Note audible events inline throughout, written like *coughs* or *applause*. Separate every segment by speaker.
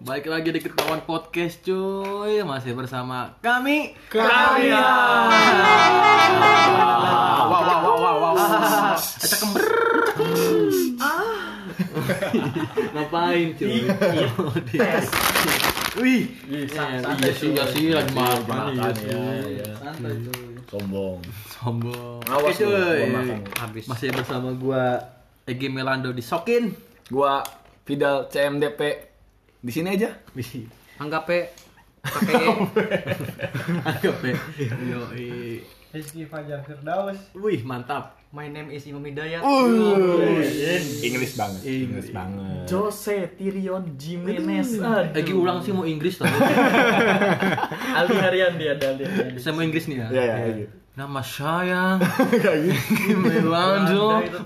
Speaker 1: Baik lagi di Ketahuan Podcast cuy Masih bersama kami
Speaker 2: Wow, wow, wow, wow, wow, wow.
Speaker 1: Acak kember Ah. Ngapain cuy Tes Wih Eh, Iya sih, iya sih Lagi makan iya
Speaker 2: Makan ya, ya.
Speaker 3: Santai cuy.
Speaker 2: Sombong.
Speaker 1: Sombong
Speaker 2: Awas
Speaker 1: Oke,
Speaker 2: lu,
Speaker 1: cuy
Speaker 2: gua makan
Speaker 3: Habis.
Speaker 1: Masih bersama gua Egi Melando disokin
Speaker 2: Gua Fidal CMDP. Di sini aja.
Speaker 1: Wih *laughs*
Speaker 3: Anggap pakai
Speaker 1: Anggap ya Yoi.
Speaker 3: Rizky Fajar Firdaus.
Speaker 1: Wih mantap
Speaker 3: My name is Imam Hidayat.
Speaker 2: Inggris banget. Inggris banget.
Speaker 3: Iya. Jose Tirion Jimenez.
Speaker 1: Egi ulang sih mau Inggris
Speaker 3: *laughs*
Speaker 1: tau
Speaker 3: Aldi Haryandi ada Aldi Haryandi.
Speaker 1: Saya mau Inggris nih ya
Speaker 2: Ya, ya, ya.
Speaker 1: Nama
Speaker 2: *laughs*
Speaker 1: saya
Speaker 2: gitu.
Speaker 1: Egi Melando
Speaker 3: Belanda itu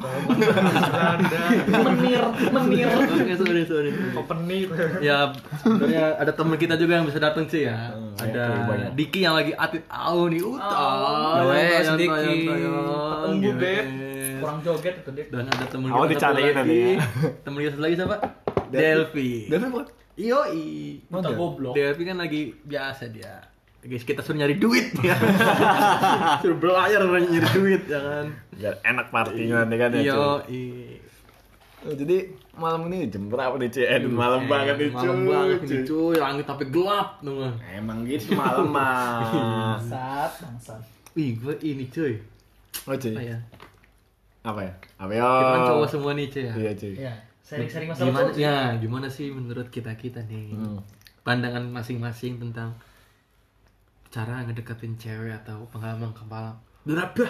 Speaker 3: Belanda. Menir, menir.
Speaker 1: Oke, sorry, sorry.
Speaker 3: Penir.
Speaker 1: Ya, sebenarnya ada teman kita juga yang bisa datang sih ya. ada
Speaker 2: ya, banyak.
Speaker 1: Diki yang lagi atlet au nih. ah,
Speaker 3: Oh.
Speaker 1: Utah.
Speaker 3: Wes,
Speaker 1: Tayang,
Speaker 3: Diki.
Speaker 1: tayang, tayang.
Speaker 3: Embu,
Speaker 1: Gimana?
Speaker 3: Beb. Kurang joget itu, Dek.
Speaker 1: Dan ada teman
Speaker 2: Awal
Speaker 1: kita satu
Speaker 2: dicariin tadi
Speaker 1: lagi.
Speaker 2: ya.
Speaker 1: Teman kita satu lagi siapa?
Speaker 2: Delphi.
Speaker 1: Delphi.
Speaker 2: Dan apa?
Speaker 1: Yoi.
Speaker 3: Kita goblok.
Speaker 1: Delphi kan lagi biasa dia. Guys, kita suruh nyari
Speaker 2: *laughs*
Speaker 1: duit ya. suruh belayar nyari duit ya kan.
Speaker 2: Biar enak partinya nanti kan ya. cuy.
Speaker 1: Yoi.
Speaker 2: Oh, Jadi malam ini jam berapa nih cuy? Aduh, malam
Speaker 1: Eh,
Speaker 2: banget nih cuy.
Speaker 1: Malam banget nih,
Speaker 2: cuy.
Speaker 1: cuy. Langit tapi gelap tuh.
Speaker 2: Emang gitu *laughs* malam mah.
Speaker 3: Bangsat, bangsat.
Speaker 1: Wih, gue ini cuy.
Speaker 2: Oh cuy.
Speaker 1: Apa ya?
Speaker 2: Apa ya? Apa
Speaker 1: Kita kan
Speaker 2: ya?
Speaker 1: cowok semua nih cuy ya.
Speaker 2: Iya cuy.
Speaker 3: Ya, sering-sering masalah
Speaker 1: Gimana,
Speaker 3: tuh.
Speaker 1: ya, gimana sih menurut kita kita nih
Speaker 2: Hmm.
Speaker 1: pandangan masing-masing tentang cara ngedekatin cewek atau pengalaman kepala berapa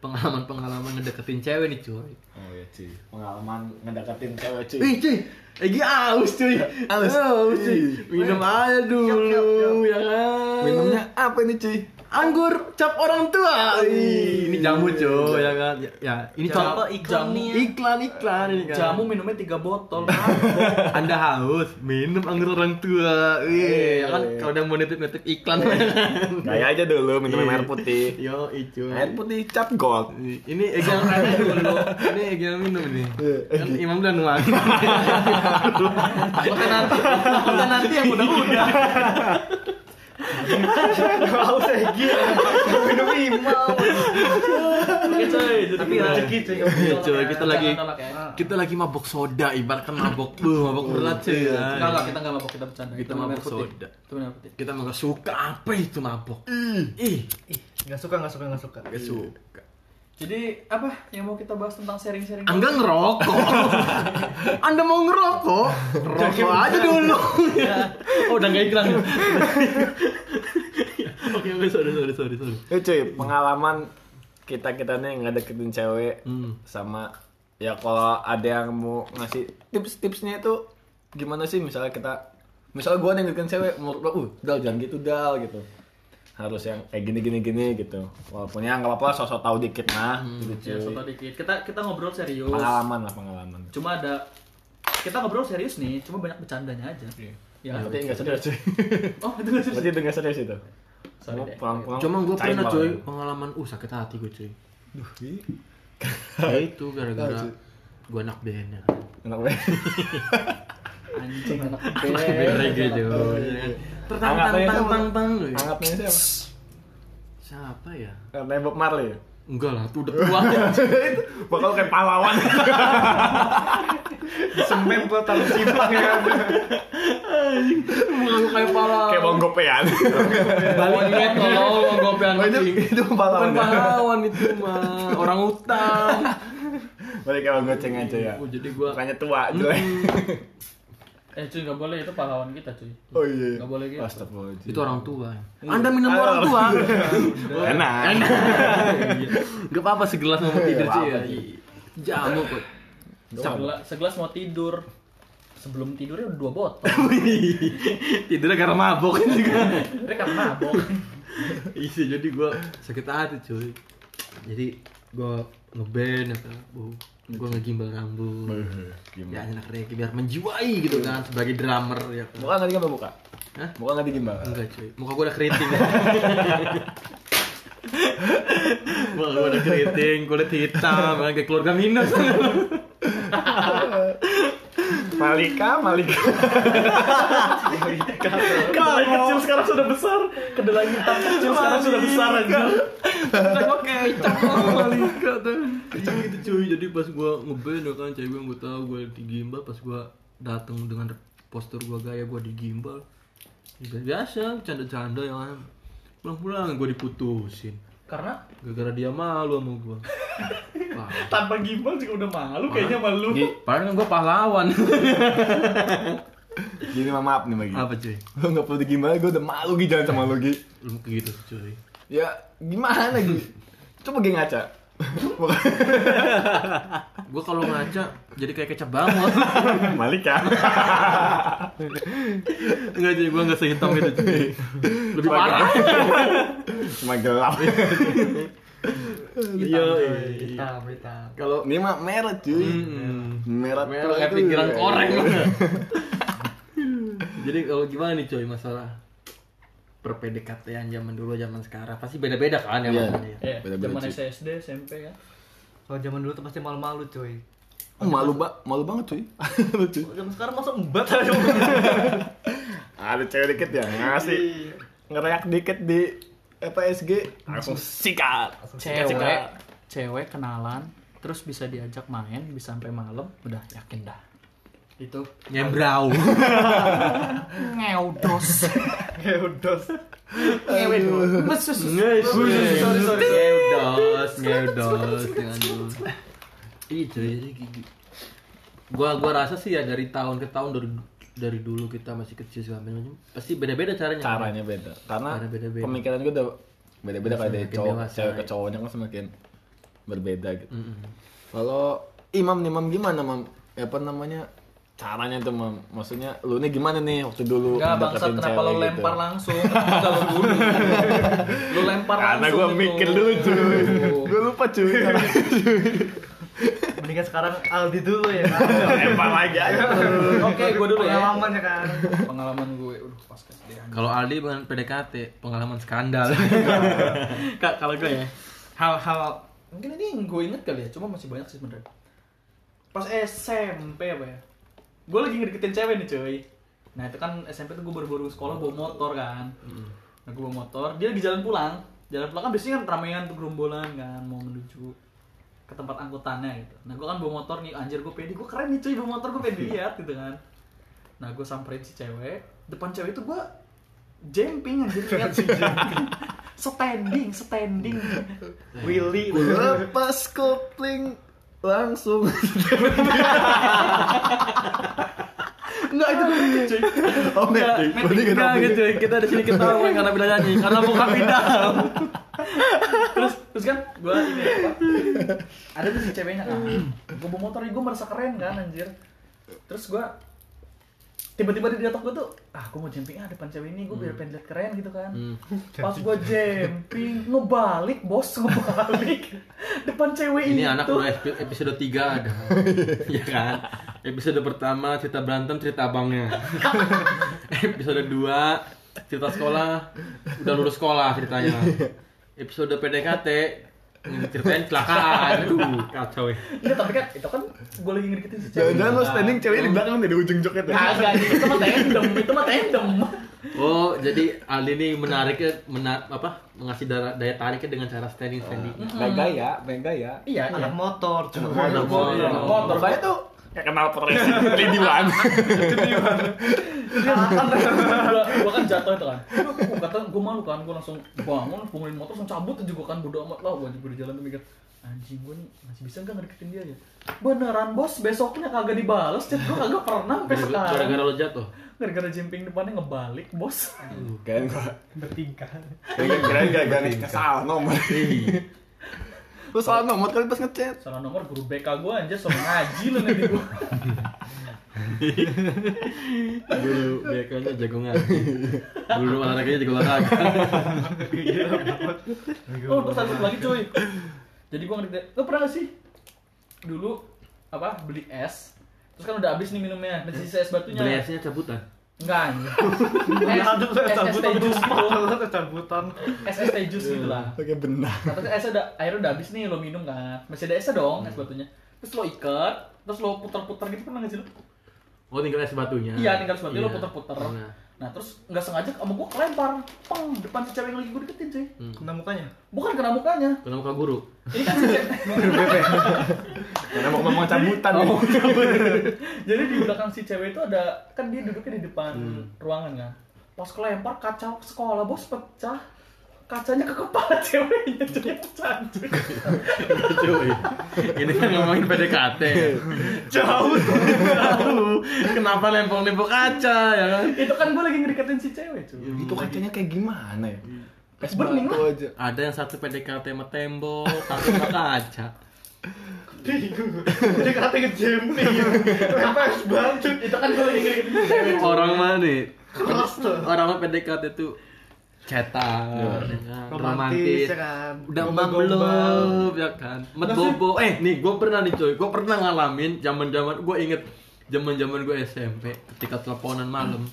Speaker 1: pengalaman pengalaman ngedeketin cewek nih cuy.
Speaker 2: Oh iya cuy. Pengalaman ngedeketin cewek cuy.
Speaker 1: Wih Eh, cuy, lagi aus cuy,
Speaker 2: Aus.
Speaker 1: aus cuy,
Speaker 2: Ih.
Speaker 1: minum aja dulu ya kan.
Speaker 2: Minumnya apa nih cuy?
Speaker 1: anggur cap orang tua.
Speaker 2: Ih,
Speaker 1: ini jamu cuy ya kan. Ya, ya, ini
Speaker 3: Jamu
Speaker 1: contoh
Speaker 3: apa iklannya?
Speaker 1: Iklan iklan ini kan.
Speaker 3: Jamu minumnya 3 botol.
Speaker 1: *laughs* Anda haus minum anggur orang tua. Iya, ya kan kalau udah mau nitip-nitip iklan.
Speaker 2: Gaya aja dulu minum air putih.
Speaker 1: *laughs* Yo, itu.
Speaker 2: Iya. Air putih cap gold.
Speaker 1: Ini Egi yang nanya dulu. Ini Egi yang minum nih.
Speaker 2: Iya,
Speaker 1: Kan Imam udah *laughs* nuangin. Bukan nanti, bukan nanti yang udah udah.
Speaker 2: Kalau saya gila, minum limau.
Speaker 3: Oke, Iya, coy. Tapi rezeki, coy.
Speaker 1: Iya, cuy, kita lagi
Speaker 3: Tolak ya.
Speaker 1: kita lagi mabok soda, ibaratkan mabok, buh, mabok berat cuy. ya.
Speaker 3: Enggak, enggak, kita enggak mabok, kita bercanda.
Speaker 1: Kita
Speaker 3: minum
Speaker 1: mabok
Speaker 3: air putih.
Speaker 1: soda.
Speaker 3: Kita minum air putih.
Speaker 1: Kita mah gak suka apa itu mabok. Ih,
Speaker 4: Gak suka, gak suka, gak
Speaker 2: Iya,
Speaker 4: suka.
Speaker 1: gak suka.
Speaker 3: Jadi, apa yang mau kita bahas tentang sharing-sharing?
Speaker 1: Angga ngerokok. *laughs* Anda mau ngerokok? Rokok aja dulu. oh, udah gak iklan. *laughs*
Speaker 3: ya?
Speaker 1: Oke, oke, sorry, sorry, sorry, sorry.
Speaker 2: Eh cuy, pengalaman kita kita nih nggak deketin cewek
Speaker 1: Hmm.
Speaker 2: sama ya kalau ada yang mau ngasih tips-tipsnya itu gimana sih misalnya kita misalnya gua nih deketin cewek menurut lo, uh, dal jangan gitu dal gitu harus yang kayak gini gini gini gitu walaupun ya nggak apa-apa sosok tahu dikit nah
Speaker 3: Ya,
Speaker 2: gitu
Speaker 3: soto
Speaker 2: cuy
Speaker 3: dikit. Kita kita ngobrol serius.
Speaker 2: pengalaman lah pengalaman
Speaker 3: Cuma ada kita ngobrol serius nih, cuma banyak bercandanya aja.
Speaker 2: Iya.
Speaker 3: Ya.
Speaker 2: berarti nggak serius
Speaker 3: *laughs*
Speaker 2: cuy
Speaker 3: Oh, itu nggak serius.
Speaker 2: berarti itu nggak serius itu
Speaker 3: Sorry deh.
Speaker 2: pulang-pulang
Speaker 1: Cuma gue
Speaker 2: cair
Speaker 1: pernah
Speaker 2: malah.
Speaker 1: cuy pengalaman uh sakit hati gue cuy.
Speaker 2: Duh, ih.
Speaker 1: Ya itu gara-gara gue anak band ya.
Speaker 2: *laughs* Enak banget.
Speaker 3: Anjing *laughs* gitu. anak
Speaker 1: Anak band
Speaker 3: band.
Speaker 1: reggae cuy. ya kan. Tertang tang
Speaker 2: Anggapnya
Speaker 1: tang
Speaker 2: siapa?
Speaker 1: tang tang. cuy.
Speaker 2: Anggapnya siapa?
Speaker 1: Siapa ya?
Speaker 2: Anggapnya Bob Marley.
Speaker 1: Enggak lah, tuh udah tua. *laughs*
Speaker 2: Bakal kayak pahlawan.
Speaker 4: Semen gua taruh simpang ya.
Speaker 1: Bukan kayak pala.
Speaker 2: kayak Bang ya? Gopean.
Speaker 1: Balik gitu. ingat kalau gopean anjing.
Speaker 2: itu
Speaker 1: Bukan
Speaker 2: pahlawan. ya?
Speaker 1: pahlawan itu mah orang utang.
Speaker 2: Balik kayak Bang Goceng aja ya.
Speaker 1: Oh, jadi gua
Speaker 2: Bukannya tua, jelek.
Speaker 3: Eh, cuy nggak boleh itu pahlawan kita, cuy.
Speaker 2: Oh iya.
Speaker 3: Nggak boleh gitu.
Speaker 2: Astagfirullahaladzim.
Speaker 1: itu orang tua. Anda minum orang *laughs* tua.
Speaker 2: Enak.
Speaker 1: Gak apa-apa segelas mau tidur
Speaker 2: Gak
Speaker 1: sih ya. Jamu
Speaker 2: apa-apa,
Speaker 1: kok.
Speaker 3: Segela- segelas mau tidur. Sebelum tidurnya udah dua botol.
Speaker 1: *laughs* Tidurnya karena mabok juga.
Speaker 3: Mereka karena kan mabok.
Speaker 1: Iya jadi gue sakit hati cuy. Jadi gue ngeband apa, bu, gue ngegimbal rambut. Ya
Speaker 2: Gimana?
Speaker 1: anak reggae biar menjiwai gitu kan sebagai drummer ya. kan.
Speaker 2: Bukan tadi kan mau buka?
Speaker 1: Hah?
Speaker 2: Bukan tadi gimana?
Speaker 1: Enggak cuy, muka gue udah keriting *laughs* Muka gue udah *laughs* keriting, kulit hitam, kayak keluarga minus
Speaker 2: Malika, Malika.
Speaker 3: Kedelai *laughs* kecil sekarang sudah besar. Kedelai hitam kecil sekarang sudah besar aja.
Speaker 1: Oke, *laughs* Malika tuh. gitu cuy. Jadi pas gua ngeband ya kan cewek yang gua tahu gua digimbal pas gua datang dengan postur gua gaya gua digimbal. Ya, biasa canda-canda ya kan. Pulang-pulang gua diputusin.
Speaker 3: Karena
Speaker 1: Gara-gara dia malu sama *laughs* gua. Wah.
Speaker 3: tanpa gimbal juga udah malu kayaknya malu.
Speaker 1: Padahal kan gua pahlawan.
Speaker 2: Gini mah maaf nih Magi.
Speaker 1: Apa cuy?
Speaker 2: Lo nggak perlu gimana, gue udah malu gitu jalan sama lo Gi.
Speaker 1: Lu kayak gitu cuy.
Speaker 2: Ya gimana Gi? Coba geng ngaca.
Speaker 1: Gua kalau ngaca jadi kayak kecap *laughs* banget.
Speaker 2: *laughs* Malika.
Speaker 1: Enggak cuy, gua enggak sehitam itu cuy. Lebih
Speaker 2: Waduh.
Speaker 1: *laughs* parah.
Speaker 2: Cuma gelap.
Speaker 1: Iya. Hmm.
Speaker 4: hitam hitam
Speaker 2: Kalau ini mah merah cuy.
Speaker 1: Mm-mm.
Speaker 2: Merah,
Speaker 1: Merah
Speaker 2: tua
Speaker 1: kayak
Speaker 2: itu
Speaker 1: pinggiran
Speaker 2: ya.
Speaker 1: koreng. iya. *laughs* Jadi kalau gimana nih coy masalah per PDKT-an zaman dulu zaman sekarang pasti beda-beda kan ya
Speaker 2: Iya.
Speaker 1: maksudnya.
Speaker 3: Eh,
Speaker 2: Beda-beda,
Speaker 3: zaman
Speaker 2: cuy.
Speaker 3: SD, SMP kan.
Speaker 4: kalau zaman dulu tuh pasti malu-malu cuy
Speaker 2: Oh, Malu ba malu banget cuy. *laughs* Malu, cuy.
Speaker 4: Kalau zaman sekarang masa embat aja
Speaker 2: Ada cewek dikit ya ngasih
Speaker 1: Iya.
Speaker 2: ngereak dikit di E EPSG langsung sikat.
Speaker 5: cewek cewek kenalan terus bisa diajak main bisa sampai malam udah yakin dah
Speaker 3: Itu
Speaker 1: Nyebrau.
Speaker 4: *laughs*
Speaker 5: ngeudos
Speaker 4: udah
Speaker 5: ngewe dulu Besus.
Speaker 1: Sorry sorry. Ngeudos, ngeudos Eh, dengan dulu. Iya cuy, jadi gigi. Gua gua rasa sih ya dari tahun ke tahun dari dari dulu kita masih kecil segala macam pasti beda-beda caranya.
Speaker 2: Iya. Caranya beda. Karena
Speaker 1: Caranya beda-beda.
Speaker 2: pemikiran gue udah beda-beda kayak dari
Speaker 1: Semakin
Speaker 2: cowok,
Speaker 1: dewasa,
Speaker 2: cewek ke
Speaker 1: ya.
Speaker 2: cowoknya kan semakin berbeda gitu.
Speaker 1: Mm-mm.
Speaker 2: Kalau imam nih, imam gimana, mam? Apa namanya? Caranya tuh, mam. Maksudnya, lu nih gimana nih waktu dulu?
Speaker 3: Enggak bangsat
Speaker 2: ngedeketin
Speaker 3: kenapa
Speaker 2: cewek
Speaker 3: lo lempar
Speaker 2: gitu?
Speaker 3: langsung? Kalau dulu. Lo lempar langsung.
Speaker 2: Karena gue
Speaker 3: itu.
Speaker 2: mikir dulu, cuy. gue lupa, cuy.
Speaker 4: *laughs* mendingan sekarang Aldi dulu ya
Speaker 2: lempar lagi aja.
Speaker 3: Oke, gue dulu ya.
Speaker 4: pengalaman ya kan
Speaker 3: Pengalaman gue. Udah pas SD.
Speaker 1: Kalau Aldi bukan PDKT, pengalaman skandal.
Speaker 5: Kak, kalau gue ya hal-hal
Speaker 3: Mungkin ini yang gue inget kali ya, cuma masih banyak sih sebenarnya. Pas SMP apa ya? Gue lagi ngedeketin cewek nih cuy. Nah itu kan SMP tuh gue baru-baru sekolah bawa motor kan. Nah gue bawa motor, dia lagi jalan pulang. Jalan pulang kan biasanya kan ramean tuh gerombolan kan, mau menuju ke tempat angkutannya gitu. Nah gue kan bawa motor nih, anjir gue pede, gue keren nih cuy bawa motor gue pede lihat gitu kan. Nah gue samperin si cewek, depan cewek itu gue jumping anjir lihat si jumping. standing, standing. Willy,
Speaker 2: *laughs* Lepas kopling
Speaker 3: *laughs*
Speaker 2: langsung.
Speaker 3: Enggak itu gue cuy.
Speaker 2: Oh, metik. Berarti kita
Speaker 1: Enggak gitu, kita di sini ketawa karena beda nyanyi, karena bukan beda.
Speaker 3: terus terus kan gue ini apa? *laughs* ada tuh si ceweknya kan gue bawa motor gue merasa keren kan anjir terus gue tiba-tiba di otak gue tuh ah gue mau jumping ah depan cewek ini gue biar pengen lihat keren gitu kan pas gue jumping ngebalik bos ngebalik *laughs* depan cewek
Speaker 1: Ini
Speaker 3: itu
Speaker 1: anak eh. udah epi- episode 3 ada. Iya kan? Episode pertama cerita berantem cerita abangnya. episode 2 cerita sekolah, udah lulus sekolah ceritanya. Episode PDKT ceritain kecelakaan. Aduh, kacau ya.
Speaker 3: Iya tapi kan itu kan gue lagi ngedeketin si cewek
Speaker 2: Jangan-jangan lo standing ceweknya di belakang dari ujung joket ya?
Speaker 3: Kagak, itu mah tandem, itu mah tandem
Speaker 1: Oh, jadi Ali ini menariknya menar apa? Mengasih daya, daya tariknya dengan cara standing standing.
Speaker 2: Megaya, megaya.
Speaker 3: Iya, iya
Speaker 4: anak motor cuy
Speaker 1: Anak motor.
Speaker 3: Motor.
Speaker 2: Mukanya tuh kayak kenal *laughs* pores. Lady One.
Speaker 3: *laughs* gua, gua kan jatuh itu kan Aduh, gua kata gua malu kan gua langsung bangun punggulin motor langsung cabut aja gua kan bodo amat lah gua gua di jalan tuh mikir anjing gua nih masih bisa nggak ngedeketin dia ya beneran bos besoknya kagak dibales chat gua kagak pernah sampai sekarang
Speaker 1: Gara-gara lo jatuh.
Speaker 3: gara-gara jumping depannya ngebalik bos
Speaker 2: Kayaknya gua
Speaker 4: bertingkah
Speaker 2: kayaknya keren gak gak nih salah nomor. Iya. Lu salah nomor kali pas ngechat.
Speaker 3: salah nomor guru BK gua aja so ngaji lu nanti gua
Speaker 1: Dulu BK-nya jago ngaji. Dulu olahraganya jago olahraga.
Speaker 3: oh terus satu lagi cuy jadi gua ngedeketin lu pernah gak sih dulu apa beli es terus kan udah habis nih minumnya masih sisa es batunya
Speaker 1: Beliasnya cabutan.
Speaker 3: Enggak anjir.
Speaker 4: Iya,
Speaker 3: Es es teh jus *laughs* gitu.
Speaker 4: cabutan
Speaker 3: Es es teh jus gitu *laughs* lah.
Speaker 2: Pakai benang.
Speaker 3: Nah, terus esnya udah airnya udah habis nih lo minum Hmm. kan. Masih ada esnya dong, es batunya. Terus lo ikat, terus lo puter-puter gitu pernah nggak sih lo?
Speaker 1: Oh tinggal es batunya.
Speaker 3: Iya, tinggal es batunya, lo
Speaker 1: Iya.
Speaker 3: puter-puter.
Speaker 1: Nah.
Speaker 3: Nah terus nggak sengaja sama gue kelempar, peng depan si cewek yang lagi gue deketin cuy.
Speaker 6: Hmm.
Speaker 4: Kena
Speaker 2: *laughs*
Speaker 4: mukanya.
Speaker 3: Bukan kena mukanya.
Speaker 1: Kena muka guru. *laughs*
Speaker 3: Ini kan si cewek. *laughs*
Speaker 2: Karena mau ngomong cabutan. ya.
Speaker 3: Jadi di belakang si cewek itu ada kan dia duduknya di depan ruangan kan. Pas kelempar kaca sekolah bos pecah. Kacanya ke kepala *laughs* ceweknya jadi pecah. cuy.
Speaker 1: Cuy. Ini kan ngomongin PDKT.
Speaker 4: Jauh.
Speaker 1: Tahu kenapa lempol-lempol kaca ya kan?
Speaker 3: itu kan gue lagi ngedeketin si
Speaker 1: Iya.
Speaker 3: cewek cuy.
Speaker 2: *laughs* Itu kacanya kayak gimana ya? Kayak
Speaker 3: Bening
Speaker 2: batu
Speaker 3: lah.
Speaker 2: aja.
Speaker 1: Ada yang satu PDKT sama tembok, satu sama kaca.
Speaker 4: Jadi kata ke Jemmy.
Speaker 2: Iya.
Speaker 4: Kenapa harus bantu?
Speaker 3: Itu kan gue lagi ngedeketin si cewek.
Speaker 1: Orang mana nih?
Speaker 4: Keras tuh.
Speaker 1: Orang mah PDKT tuh cetar,
Speaker 2: Iya.
Speaker 1: ya kan? romantis,
Speaker 4: Romantis, ya kan?
Speaker 1: udah emang
Speaker 4: Gombal-gombal.
Speaker 1: belum ya kan met bobo eh nih gue pernah nih cuy gue pernah ngalamin zaman zaman gue inget zaman zaman gue SMP ketika teleponan malam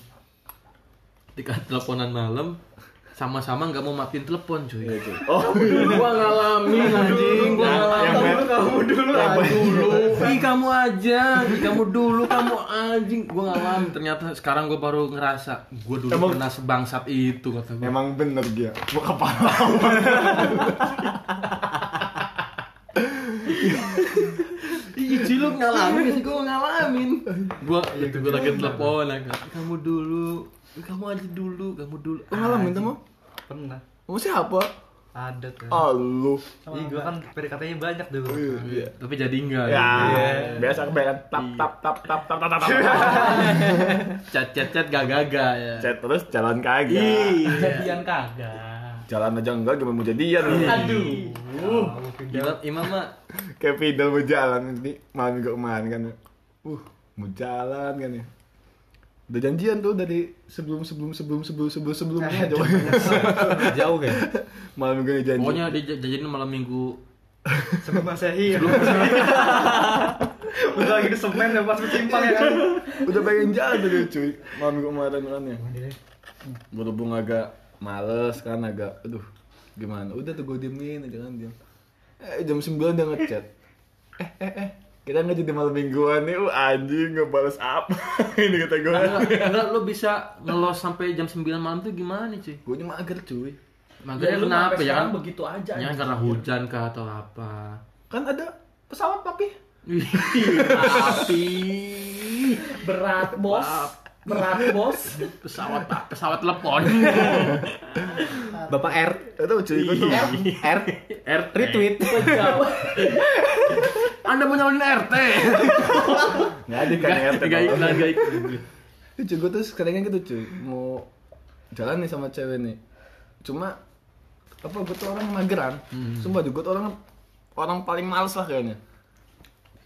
Speaker 1: ketika teleponan malam sama-sama nggak mau matiin telepon cuy
Speaker 2: Iya, cuy. Oh,
Speaker 1: gue ngalamin anjing gue ngalamin
Speaker 2: yang
Speaker 4: Kamu dulu, kamu dulu.
Speaker 1: Kamu dulu ih Iya, kamu aja ih kamu dulu kamu anjing gue ngalamin ternyata sekarang gue baru ngerasa gue dulu
Speaker 2: Emang-
Speaker 1: pernah sebangsat itu kata gue
Speaker 2: emang bener dia. Gua kepala.
Speaker 1: Iya cuy lu ngalamin sih gue ngalamin Gue itu gue lagi telepon lah kan. Kamu dulu Kamu aja dulu Kamu dulu
Speaker 2: Lu ngalamin tuh mau?
Speaker 4: Pernah.
Speaker 2: Mau siapa?
Speaker 4: Ada tuh.
Speaker 2: Ah, lu.
Speaker 4: Iya, gue kan PDKT-nya banyak dulu.
Speaker 2: Iya.
Speaker 1: Tapi jadi enggak
Speaker 2: Ya,
Speaker 1: gitu.
Speaker 2: biasa kebanyakan tap tap tap tap tap tap tap. tap,
Speaker 1: Chat chat chat gak gaga ya
Speaker 2: Chat terus jalan kagak.
Speaker 1: Iya
Speaker 3: Jadian kagak.
Speaker 2: Jalan aja enggak gimana mau jadian lu.
Speaker 3: Aduh.
Speaker 2: *laughs*
Speaker 1: Imam, imam mah
Speaker 2: Kayak Fidel mau jalan nanti malam minggu kemarin kan. Uh, mau jalan kan ya. Udah janjian tuh dari sebelum sebelum sebelum sebelum sebelum sebelumnya coba.
Speaker 1: jauh ya
Speaker 2: *laughs* malam minggu janjian.
Speaker 1: Pokoknya dia j- jajan malam minggu
Speaker 4: Sebelum masehi. *laughs* Udah lagi di semen ya pas kesimpang ya kan.
Speaker 2: udah pengen jalan tuh dia, cuy. Malam minggu kemarin kan ya. Berhubung agak males kan agak aduh gimana. Udah tuh gue diemin aja kan diam. Eh jam 9 udah ngechat. Eh eh eh kita nggak jadi malam mingguan nih, uh, anjing nggak balas apa *laughs* ini kata gue.
Speaker 1: Enggak, enggak, lu bisa ngelos sampai jam 9 malam tuh gimana cuy
Speaker 2: Gue ini mager cuy.
Speaker 1: Makanya
Speaker 3: Jadi lu
Speaker 1: kenapa
Speaker 3: sampai
Speaker 1: ya kan
Speaker 3: sekarang begitu aja.
Speaker 1: Ya kan
Speaker 3: anjing.
Speaker 1: karena hujan kah atau apa
Speaker 2: kan ada
Speaker 3: Pesawat papi
Speaker 1: Ih, Tapi
Speaker 3: berat bos. Berat bos.
Speaker 1: pesawat pesawat telepon
Speaker 2: bapak R itu cuy gue tuh
Speaker 4: Iya.
Speaker 2: R
Speaker 1: R
Speaker 3: Jauh.
Speaker 1: Anda mau nyalonin RT
Speaker 2: nggak ada kan R
Speaker 1: Gak iklan gak iklan
Speaker 2: itu cuy gue tuh sekarang gitu cuy mau jalan nih sama cewek nih cuma apa gue tuh orang mageran sumpah juga tuh orang orang paling males lah kayaknya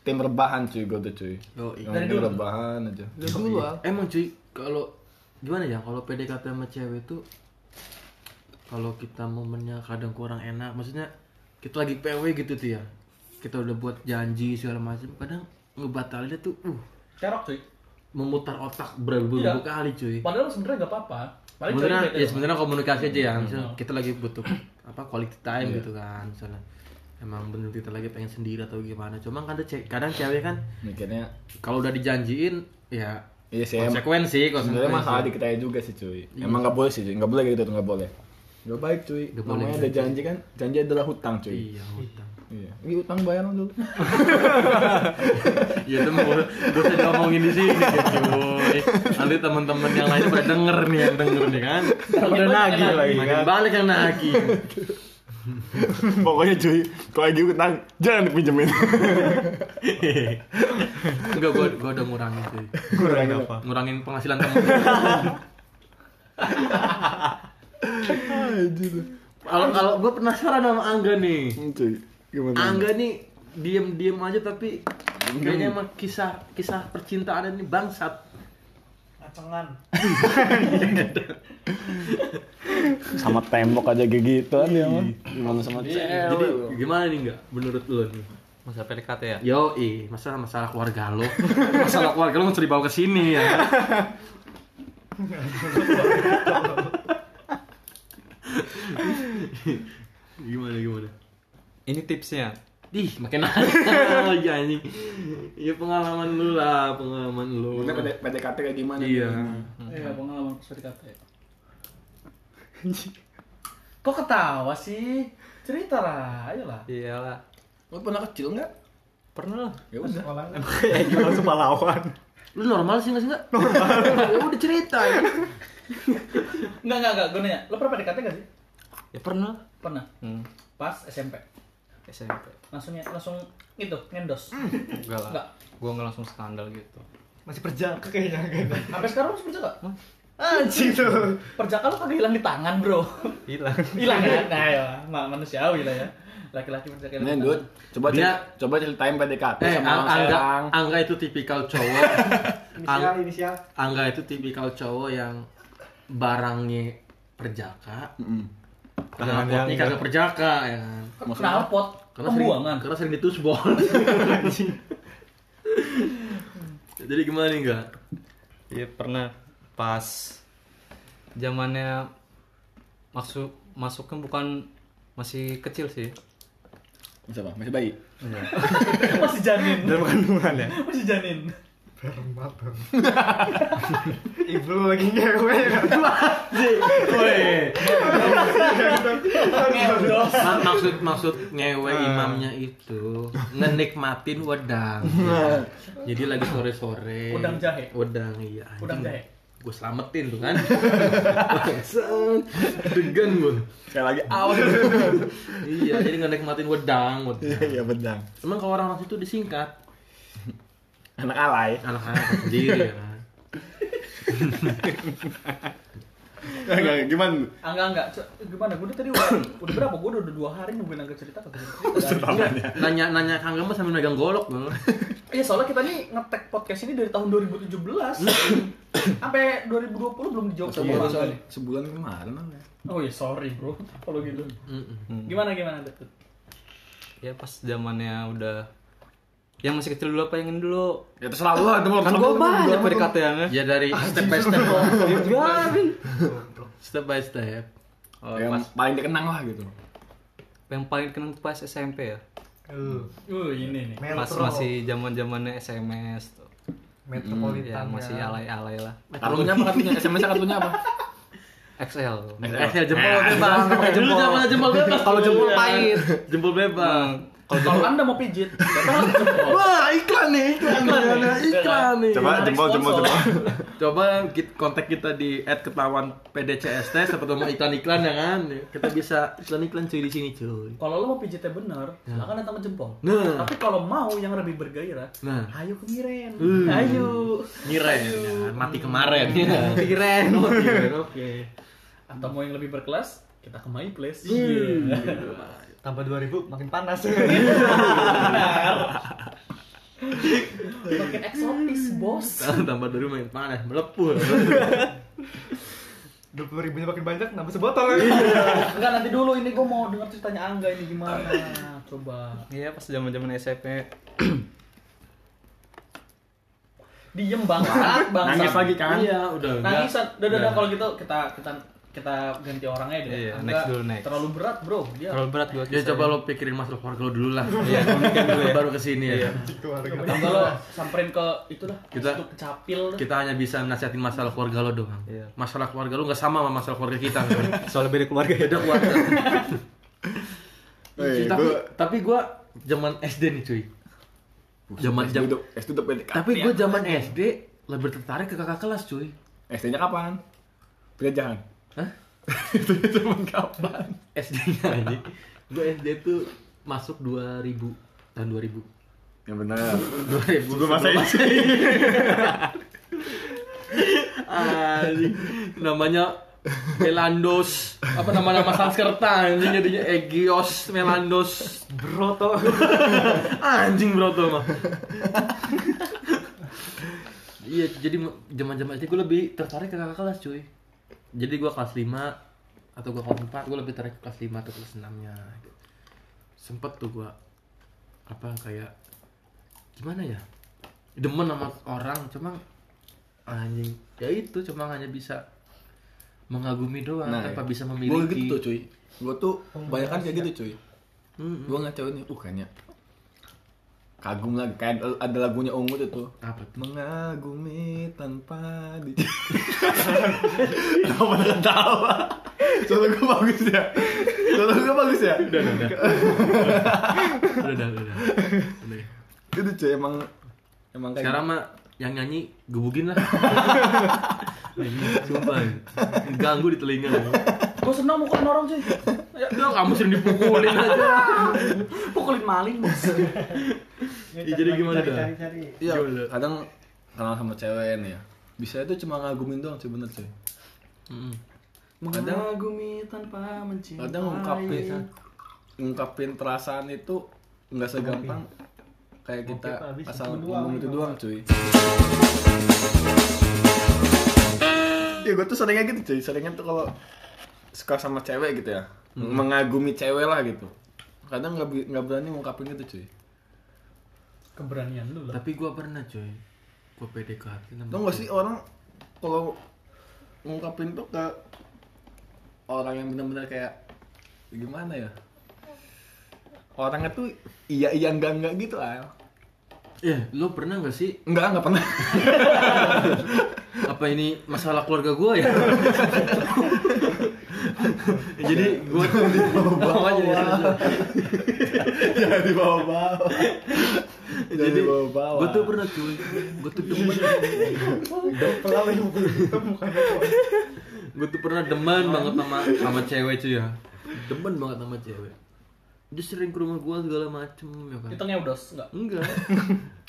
Speaker 2: tim rebahan cuy gue tuh cuy
Speaker 1: Yoi.
Speaker 2: Yang tim rebahan aja iya. dari dulu Al.
Speaker 1: Emang cuy kalau gimana ya kalau PDKT sama cewek itu kalau kita momennya kadang kurang enak maksudnya kita lagi PW gitu tuh ya kita udah buat janji segala macam kadang ngebatalinnya tuh uh
Speaker 3: Kerok cuy.
Speaker 1: memutar otak beribu-ribu
Speaker 3: Iya.
Speaker 1: kali cuy
Speaker 3: Padahal sebenarnya gak apa-apa. Paling
Speaker 1: sebenarnya
Speaker 3: cewek bete
Speaker 1: ya
Speaker 3: doang.
Speaker 1: sebenarnya komunikasi aja ya misalnya kita lagi butuh apa quality time gitu kan misalnya emang bener kita lagi pengen sendiri atau gimana cuma kan ada ce- kadang cewek kan
Speaker 2: mikirnya
Speaker 1: kalau udah dijanjiin ya
Speaker 2: iya sih em-
Speaker 1: konsekuensi
Speaker 2: sebenarnya masalah
Speaker 1: konsekuensi
Speaker 2: di kita juga sih cuy emang nggak boleh sih cuy nggak boleh gitu tuh nggak boleh nggak baik cuy
Speaker 1: Nggak boleh
Speaker 2: namanya
Speaker 1: gitu,
Speaker 2: ada janji kan janji adalah hutang cuy
Speaker 1: iya utang
Speaker 2: Iya. Ini utang bayar dong dulu.
Speaker 1: iya itu mau gue usah ngomongin di sini gitu cuy nanti teman-teman yang lain pada denger nih yang denger nih kan
Speaker 2: Udah nagih lagi
Speaker 1: makin
Speaker 2: kan.
Speaker 1: balik yang nagih
Speaker 2: *laughs* Pokoknya cuy, kalau lagi utang jangan dipinjemin.
Speaker 1: enggak gue gue udah ngurangin cuy
Speaker 2: Kurang apa?
Speaker 1: ngurangin penghasilan kamu kalau kalau gue penasaran sama Angga nih
Speaker 2: Hmm, Cuy, gimana?
Speaker 1: Angga nih diem-diem aja tapi kayaknya emang kisah kisah percintaan ini bangsat.
Speaker 4: Acengan.
Speaker 2: Sama tembok aja kayak gituan ya, Mas. Gimana sama
Speaker 1: Jadi gimana nih nggak menurut lo nih?
Speaker 5: Masa PDKT ya?
Speaker 1: Yo masalah masalah keluarga lo, *laughs* masalah keluarga lo mesti dibawa ke sini ya. gimana gimana?
Speaker 5: Ini tipsnya.
Speaker 1: Dih, makin nakal lagi anjing. Ya pengalaman lu lah, pengalaman lu.
Speaker 2: Maksudnya PD PDKT kayak gimana?
Speaker 1: Iya.
Speaker 3: Iya, pengalaman pas PDKT. Kok ketawa sih? Cerita lah, ayolah.
Speaker 1: Iyalah.
Speaker 2: Lu pernah kecil nggak?
Speaker 1: Pernah lah.
Speaker 2: Ya
Speaker 3: *laughs*
Speaker 2: udah.
Speaker 4: sekolah
Speaker 2: Kayak gimana langsung pahlawan.
Speaker 1: Lu normal sih nggak sih nggak? Normal. ya udah cerita ya.
Speaker 3: Enggak, enggak, enggak, gue nanya. Lo pernah PDKT gak sih?
Speaker 1: Ya pernah.
Speaker 3: Pernah.
Speaker 1: Hmm.
Speaker 3: Pas SMP.
Speaker 5: SMP. Hmm.
Speaker 3: Langsung langsung gitu, ngendos.
Speaker 5: Enggak lah.
Speaker 3: Enggak.
Speaker 5: Gua nggak langsung skandal gitu.
Speaker 4: masih perjaka kayaknya kayaknya.
Speaker 3: Sampai sekarang lo masih perjaka?
Speaker 4: anjing tuh
Speaker 3: Perjaka lo kagak hilang di tangan, bro.
Speaker 5: Hilang.
Speaker 3: Hilang kan? Nah, ya, ma- manusiawi lah ya. Laki-laki perjaka hilang
Speaker 2: Nih,
Speaker 3: di
Speaker 2: Dut,
Speaker 3: tangan.
Speaker 2: coba
Speaker 1: Dia-
Speaker 2: cer- coba ceritain PDKT
Speaker 1: Eh,
Speaker 2: sama
Speaker 1: Ang-
Speaker 2: orang
Speaker 1: angga,
Speaker 2: Serang.
Speaker 1: angga itu tipikal cowok.
Speaker 4: inisial
Speaker 1: Ang-
Speaker 4: Ya, inisial
Speaker 1: angga itu tipikal cowok yang barangnya perjaka,
Speaker 2: Mm-mm.
Speaker 5: Tangannya
Speaker 1: knalpotnya
Speaker 5: Angga.
Speaker 1: kagak perjaka ya kan.
Speaker 2: Maksudnya apa?
Speaker 3: Knalpot, pembuangan.
Speaker 1: Sering, karena sering ditusbol. Anjing. Jadi gimana nih enggak?
Speaker 5: Iya pernah pas zamannya masuk masuknya bukan masih kecil sih.
Speaker 2: Masih apa? Masih bayi.
Speaker 3: Masih janin.
Speaker 5: Dalam kandungan ya.
Speaker 3: Masih janin.
Speaker 4: berempat Bang. ibu lu lagi ngewe
Speaker 1: Weh.
Speaker 3: Ngendos.
Speaker 1: Ma- maksud maksud ngewe
Speaker 2: Ah.
Speaker 1: imamnya itu ngenikmatin
Speaker 2: *laughs*
Speaker 1: wedang. Jadi lagi sore-sore.
Speaker 3: Wedang jahe.
Speaker 1: Wedang iya. anjing.
Speaker 3: Wedang jahe.
Speaker 1: Gue selamatin tuh kan. *laughs* Bangsat. Degan gue.
Speaker 2: Sekali lagi awas.
Speaker 1: Iya, jadi ngenikmatin wedang, wedang.
Speaker 2: *laughs* Iya, bedang.
Speaker 1: Emang kalau orang orang itu disingkat
Speaker 2: Anak alay.
Speaker 1: anak-anak sendiri ya kan.
Speaker 2: Enggak, gimana?
Speaker 3: Angga, Ah, enggak. Gimana? Gue udah tadi udah, *coughs* udah berapa? Gue udah, udah dua hari nungguin Angga cerita. kan? kagak cerita.
Speaker 1: Nanya nanya Kang Gemes sambil megang golok loh.
Speaker 3: Iya soalnya kita nih ngetek podcast ini dari tahun 2017 *coughs* sampai 2020 belum dijawab sama
Speaker 2: Sebulan,
Speaker 3: orang kali.
Speaker 2: Eh, sebulan kemarin Ang, ya.
Speaker 3: Oh iya sorry bro kalau gitu.
Speaker 1: Mm-mm.
Speaker 3: Gimana gimana Dut?
Speaker 5: Ya pas zamannya udah yang masih kecil dulu apa yang ini dulu?
Speaker 2: Ya terserah lu, itu mau
Speaker 5: Kan gua banyak PDKT yang
Speaker 1: Ya dari step by step. step by step.
Speaker 5: Oh,
Speaker 2: Yang
Speaker 5: pas,
Speaker 2: paling dikenang lah gitu.
Speaker 5: yang paling kenang tuh pas SMP ya.
Speaker 3: Uh ini nih.
Speaker 5: Pas
Speaker 4: Metro.
Speaker 5: masih zaman-zamannya SMS tuh. Ya,
Speaker 4: metropolitan
Speaker 5: masih
Speaker 4: ya.
Speaker 5: alay-alay lah.
Speaker 2: Kartunya apa kartunya? SMS kartunya apa?
Speaker 5: XL.
Speaker 1: Eh, jempol bebas. Dulu zaman jempol bebas.
Speaker 5: Kalau jempol pahit.
Speaker 1: Jempol bebas.
Speaker 3: Kalau anda mau pijit, datang ke
Speaker 1: *laughs*
Speaker 3: jempol.
Speaker 1: Wah, iklan nih, iklan nih, iklan nih.
Speaker 2: Coba jempol jempol
Speaker 3: Sponsor.
Speaker 2: jempol.
Speaker 1: Coba kita kontak kita di @ketawanpdcst siapa tahu mau iklan-iklan ya kan. Kita bisa iklan-iklan cuy di sini cuy.
Speaker 3: Kalau lo mau pijitnya bener, silakan datang ke jempol.
Speaker 1: Nah.
Speaker 3: Tapi kalau mau yang lebih bergairah,
Speaker 1: Nah.
Speaker 3: ayo ke Miren.
Speaker 1: Uh.
Speaker 3: Ayo.
Speaker 1: Ngiren, ya kan? mati kemarin.
Speaker 5: Pikiran.
Speaker 1: Oh, ngiren, Oke.
Speaker 3: Atau mau yang lebih berkelas, kita ke My Place.
Speaker 5: Iya.
Speaker 1: Iya.
Speaker 3: Iya.
Speaker 4: tambah 2000 makin
Speaker 5: *laughs*
Speaker 4: panas
Speaker 3: Makin eksotis, *laughs* Bos.
Speaker 1: Tambah dari main panas, melepuh.
Speaker 4: 20 ribunya makin banyak nambah sebotol lagi
Speaker 5: Iya.
Speaker 3: Enggak nanti dulu ini gue mau dengar ceritanya Angga ini gimana. Coba.
Speaker 5: Iya pas zaman-zaman SMP.
Speaker 3: Diem bangsat, *laughs* bangsat.
Speaker 2: Nangis lagi kan?
Speaker 1: Iya, udah.
Speaker 3: Nangis.
Speaker 1: enggak.
Speaker 3: Udah, udah, udah, kalau gitu kita kita kita ganti orangnya deh.
Speaker 5: Iya,
Speaker 3: Angga
Speaker 5: next dulu, next.
Speaker 3: Terlalu berat, Bro. Dia
Speaker 5: Terlalu berat gua.
Speaker 1: Ya
Speaker 5: kisahnya.
Speaker 1: coba lo pikirin masalah keluarga lo dulu lah.
Speaker 5: Iya, gua mikir dulu ya.
Speaker 1: Baru kesini ya.
Speaker 4: keluarga
Speaker 3: Coba lo samperin ke itu dah.
Speaker 1: Kita-
Speaker 3: Itu ke capil. dah.
Speaker 1: Kita hanya bisa nasihatin masalah keluarga lo doang.
Speaker 5: Iya.
Speaker 1: Masalah keluarga lo nggak sama sama masalah keluarga kita.
Speaker 2: *laughs*
Speaker 1: kan?
Speaker 5: Soal beda keluarga ya.
Speaker 1: Beda keluarga.
Speaker 2: Eh,
Speaker 1: tapi
Speaker 2: gua-
Speaker 1: tapi gue zaman SD nih cuy. Zaman
Speaker 2: SD
Speaker 1: jam.
Speaker 2: udah SD udah PDKT.
Speaker 1: Tapi gue zaman SD lebih tertarik ke kakak kelas cuy.
Speaker 2: SD-nya kapan? Penjajahan.
Speaker 1: Hah?
Speaker 2: *laughs* Itu zaman kapan?
Speaker 1: SD-nya aja. Gue SD tuh masuk 2000 tahun 2000.
Speaker 2: Yang benar.
Speaker 1: 2000
Speaker 2: Gua masa
Speaker 1: sebelum
Speaker 2: ini.
Speaker 1: *laughs* Anjing. Namanya Melandos. Apa nama-nama Sanskerta anjing jadinya Egios Melandos Broto. *laughs* anjing Broto mah. Iya, jadi zaman-zaman itu gue lebih tertarik ke kakak kelas, cuy. Jadi gue kelas 5 atau gue kelas 4, gue lebih tertarik ke kelas 5 atau kelas 6-nya gitu. Sempet tuh gue apa kayak gimana ya? Demen sama orang, cuma anjing. Ya itu cuma hanya bisa mengagumi doang
Speaker 2: Nah, ya.
Speaker 1: tanpa bisa memiliki. Hmm.
Speaker 2: Gue gitu tuh, cuy. Gue tuh banyak kan kayak gitu cuy.
Speaker 1: Mm-mm.
Speaker 2: Gue ngacauin, uh kayaknya kagum lagi kayak ada- ada lagunya Ungu tuh tuh
Speaker 1: Apa
Speaker 2: *laughs*
Speaker 1: tuh?
Speaker 2: mengagumi tanpa *laughs* di kenapa pada ketawa solo gue bagus ya solo gue bagus ya
Speaker 1: Udah, udah, udah. udah, udah, udah. Udah.
Speaker 2: itu cuy emang emang kayak
Speaker 1: Sekarang mah yang nyanyi gebukin lah. Sumpah. Ganggu di telinga.
Speaker 3: Gue senang mukulin orang *laughs* cuy.
Speaker 1: Ya, udah, kamu sering dipukulin aja.
Speaker 3: Pukulin maling bos.
Speaker 1: Ya, jadi gimana dah?
Speaker 4: Cari-cari.
Speaker 2: Iya,
Speaker 1: Gila.
Speaker 2: kadang kenal sama cewek nih ya. Bisa itu cuma ngagumin doang sih bener sih.
Speaker 1: Mm.
Speaker 2: Kadang
Speaker 3: Mengagumi tanpa mencintai.
Speaker 2: kadang ngungkapin ngungkapin perasaan itu nggak segampang kayak kita
Speaker 4: Oke, Pak, habis
Speaker 2: asal
Speaker 4: itu
Speaker 2: ngomong
Speaker 4: doang. gitu.
Speaker 2: itu doang cuy. Ya gue tuh seringnya gitu cuy, seringnya tuh kalau suka sama cewek gitu ya, mengagumi cewek lah gitu. Kadang nggak bi- nggak berani ngungkapin itu cuy.
Speaker 3: Keberanian lu lah.
Speaker 1: Tapi gua pernah coy. Gua PDKT sama.
Speaker 2: Tau gak sih orang kalau ngungkapin tuh ke orang yang benar-benar kayak gimana ya? Orangnya tuh iya iya enggak enggak gitu al.
Speaker 1: Ya, lo pernah gak sih?
Speaker 2: Enggak enggak pernah.
Speaker 1: Apa ini masalah keluarga gua ya? Ya, Jadi gua tuh di
Speaker 2: ya di bawah bawah.
Speaker 1: Jadi
Speaker 2: Jadi bawah bawah.
Speaker 1: gua tuh pernah cuy. Gua tuh demen.
Speaker 4: Pelawan yang mukul itu mukanya kok.
Speaker 1: Gua tuh pernah demen banget sama sama cewek cuy ya. Demen banget sama cewek. Dia sering ke rumah gua segala macem ya kan.
Speaker 3: Hitungnya udah enggak.
Speaker 1: Enggak.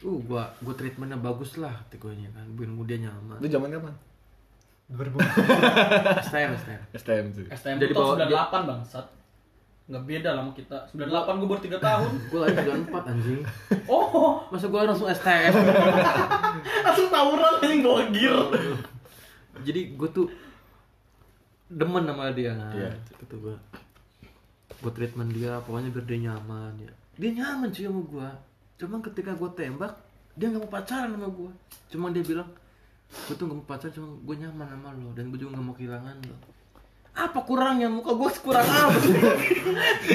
Speaker 1: Uh, gua gua treatmentnya bagus lah, tegonya kan. Bikin dia nyaman.
Speaker 4: *laughs*
Speaker 2: Itu zaman kapan?
Speaker 3: *laughs*
Speaker 4: Berbunyi.
Speaker 1: STM, STM.
Speaker 2: STM tuh.
Speaker 3: STM
Speaker 1: Jadi
Speaker 3: Jadi
Speaker 1: bawa-
Speaker 3: tahun 98 bangsat. Enggak beda lah sama kita. 98 gue
Speaker 1: *laughs*
Speaker 3: baru 3 tahun.
Speaker 1: Gua lahir 94 anjing.
Speaker 3: Oh,
Speaker 1: Masa gua langsung STM.
Speaker 3: langsung tawuran anjing bawa gear.
Speaker 1: Jadi gua tuh demen sama dia.
Speaker 2: Iya.
Speaker 1: Itu gua. Gua treatment dia, pokoknya biar dia nyaman ya. Dia nyaman cuy sama gua. Cuman ketika gua tembak, dia nggak mau pacaran sama gua. Cuman dia bilang, gua tuh nggak mau pacaran, cuma gua nyaman sama lo dan gua juga nggak mau kehilangan lo. Apa kurangnya muka gua kurang apa sih?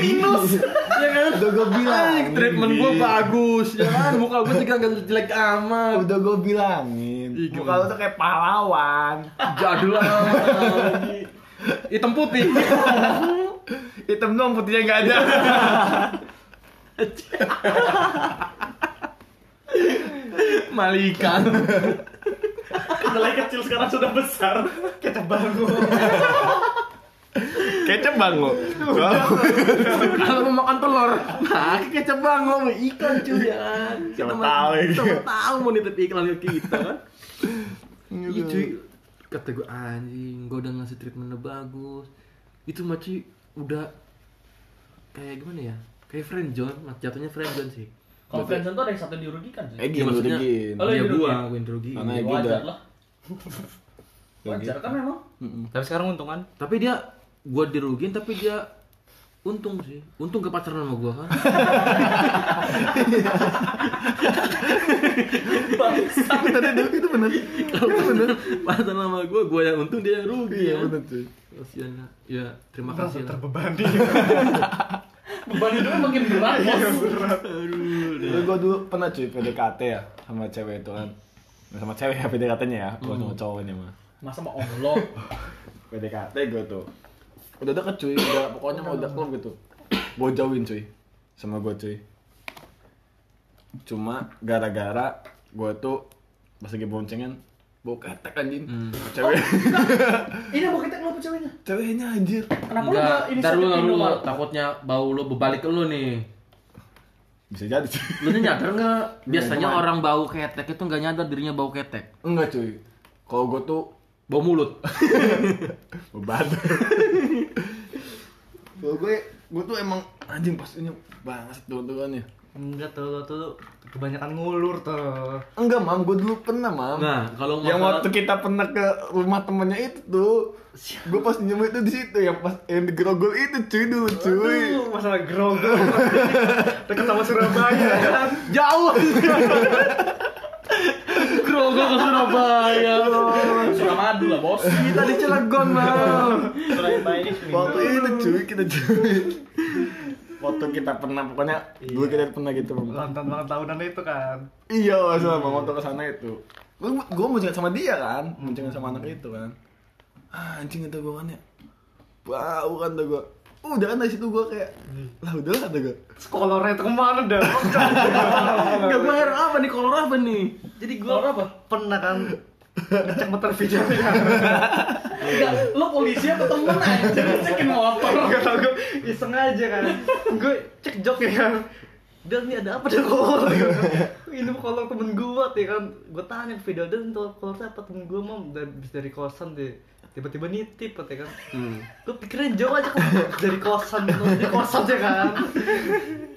Speaker 1: Minus. ya kan?
Speaker 2: Udah gua bilang.
Speaker 1: Ay, treatment gue bagus ya kan muka gue juga gak jelek amat
Speaker 2: Nah, Udah gue bilangin.
Speaker 1: Ih,
Speaker 2: Muka
Speaker 1: gimana?
Speaker 2: lu tuh kayak pahlawan.
Speaker 1: jadul amat *laughs* hitam *laughs* putih
Speaker 2: Hitam doang putihnya nggak ada.
Speaker 1: malika
Speaker 3: Kedelai kecil sekarang sudah besar.
Speaker 4: Kita bangun.
Speaker 2: Kecap bango.
Speaker 1: kalau mau makan telur nah kecap bango sama ikan cuy ya kan
Speaker 2: Siapa
Speaker 1: Kita mah-
Speaker 2: tahu, ya.
Speaker 1: kita mah tahu mau nitip iklan ke kita kan
Speaker 2: Gitu.
Speaker 1: iya cuy kata gue anjing gue udah ngasih treatmentnya bagus itu mah cuy udah kayak gimana ya kayak friend zone jatuhnya friend zone sih
Speaker 3: Kalau friendzone tuh ada yang satu yang dirugikan sih.
Speaker 1: Ya,
Speaker 2: Egi yang
Speaker 1: maksudnya-
Speaker 2: rugiin.
Speaker 3: Oh, lu
Speaker 1: dia
Speaker 3: yang
Speaker 1: gua
Speaker 3: dirugiin?
Speaker 1: gue yang Nah, dirugiin.
Speaker 2: Karena Egi udah
Speaker 3: Wajar lah.
Speaker 1: Ya gitu.
Speaker 3: Wajar kan memang.
Speaker 5: Tapi sekarang untungan.
Speaker 1: tapi dia gua dirugiin tapi dia untung sih untung ke pacaran sama gua *laughs* kan
Speaker 3: Bangsat.
Speaker 2: tadi itu itu benar
Speaker 1: Iya, pacaran sama gua gua yang untung dia yang rugi
Speaker 2: iya
Speaker 1: ya
Speaker 2: benar cuy
Speaker 1: kasian lah. ya terima
Speaker 4: Merasa
Speaker 1: kasih lah
Speaker 4: terbebani.
Speaker 3: Beban hidupnya makin berat
Speaker 1: Iya,
Speaker 3: bos.
Speaker 2: Tapi gue dulu pernah cuy PDKT ya sama cewek itu kan Nah, sama cewek ya PDKT-nya ya bukan sama cowoknya mah
Speaker 3: Masa mau Allah.
Speaker 2: PDKT gue tuh udah deket cuy udah pokoknya mau udah klop gitu gue jauhin cuy sama gue cuy cuma gara-gara gue tuh pas lagi boncengan bau ketek anjing cewek *laughs*
Speaker 3: Ini mau kita kenapa ceweknya?
Speaker 2: ceweknya anjir
Speaker 3: Kenapa lu
Speaker 1: Enggak,
Speaker 3: nggak ini
Speaker 1: ntar lu
Speaker 3: sakitin
Speaker 1: lu
Speaker 3: lu?
Speaker 1: takutnya bau lu berbalik ke lu nih.
Speaker 2: bisa jadi cuy
Speaker 1: Lu tuh nyadar nggak? Biasanya
Speaker 2: Cuman.
Speaker 1: orang bau ketek itu nggak nyadar dirinya bau ketek.
Speaker 2: enggak cuy kalau gue tuh
Speaker 1: Bau mulut.
Speaker 2: beban kalau gue gue tuh emang anjing pas ini banget ya. tuan-tuannya
Speaker 4: Enggak tuh, lo tuh kebanyakan ngulur tuh.
Speaker 2: enggak mam gue dulu pernah mam
Speaker 1: Nah, kalau
Speaker 2: yang
Speaker 1: masalah-
Speaker 2: waktu kita pernah ke rumah temennya itu tuh gue pas nemu itu di situ yang pas yang digerogol itu cuy dulu cuy
Speaker 4: Aduh, masalah grogol. Dekat sama Surabaya kan.
Speaker 1: Jauh. Grogol ke Surabaya loh.
Speaker 3: Suramadu lah bos.
Speaker 2: kita di Cilegon mam
Speaker 3: Surabaya ini.
Speaker 2: waktu itu cuy kita cuy waktu waktu kita pernah pokoknya
Speaker 1: Iya.
Speaker 2: dulu kita pernah gitu bang
Speaker 6: Lantan banget tahunan itu kan.
Speaker 2: iya masalah bang waktu kesana itu gue mau sama dia kan mau sama anak itu kan ah, anjing itu gue kan ya bau kan tuh gue udah kan dari situ gue kayak lah udah lah tuh gue
Speaker 6: Sekolornya itu kemana dah?
Speaker 1: Enggak gue heran apa nih kolor apa nih?
Speaker 7: Jadi gua apa?
Speaker 6: Pernah kan ngecek motor videonya.
Speaker 7: Enggak, lo polisi apa temen
Speaker 3: nah,
Speaker 7: aja cekin
Speaker 6: *laughs*
Speaker 7: motor.
Speaker 6: Gak tau gue iseng aja kan. Gue cek jok ya kan. Dan ini ada apa dah kolor? Ya kan? *laughs* Ini kolor temen gue ya kan. Gue tanya ke video dan tuh kolornya apa temen gue mau dari, habis dari kosan deh. Tiba-tiba nitip ya kan. Gue pikirin jauh aja kok dari kosan, dari kosan ya kan.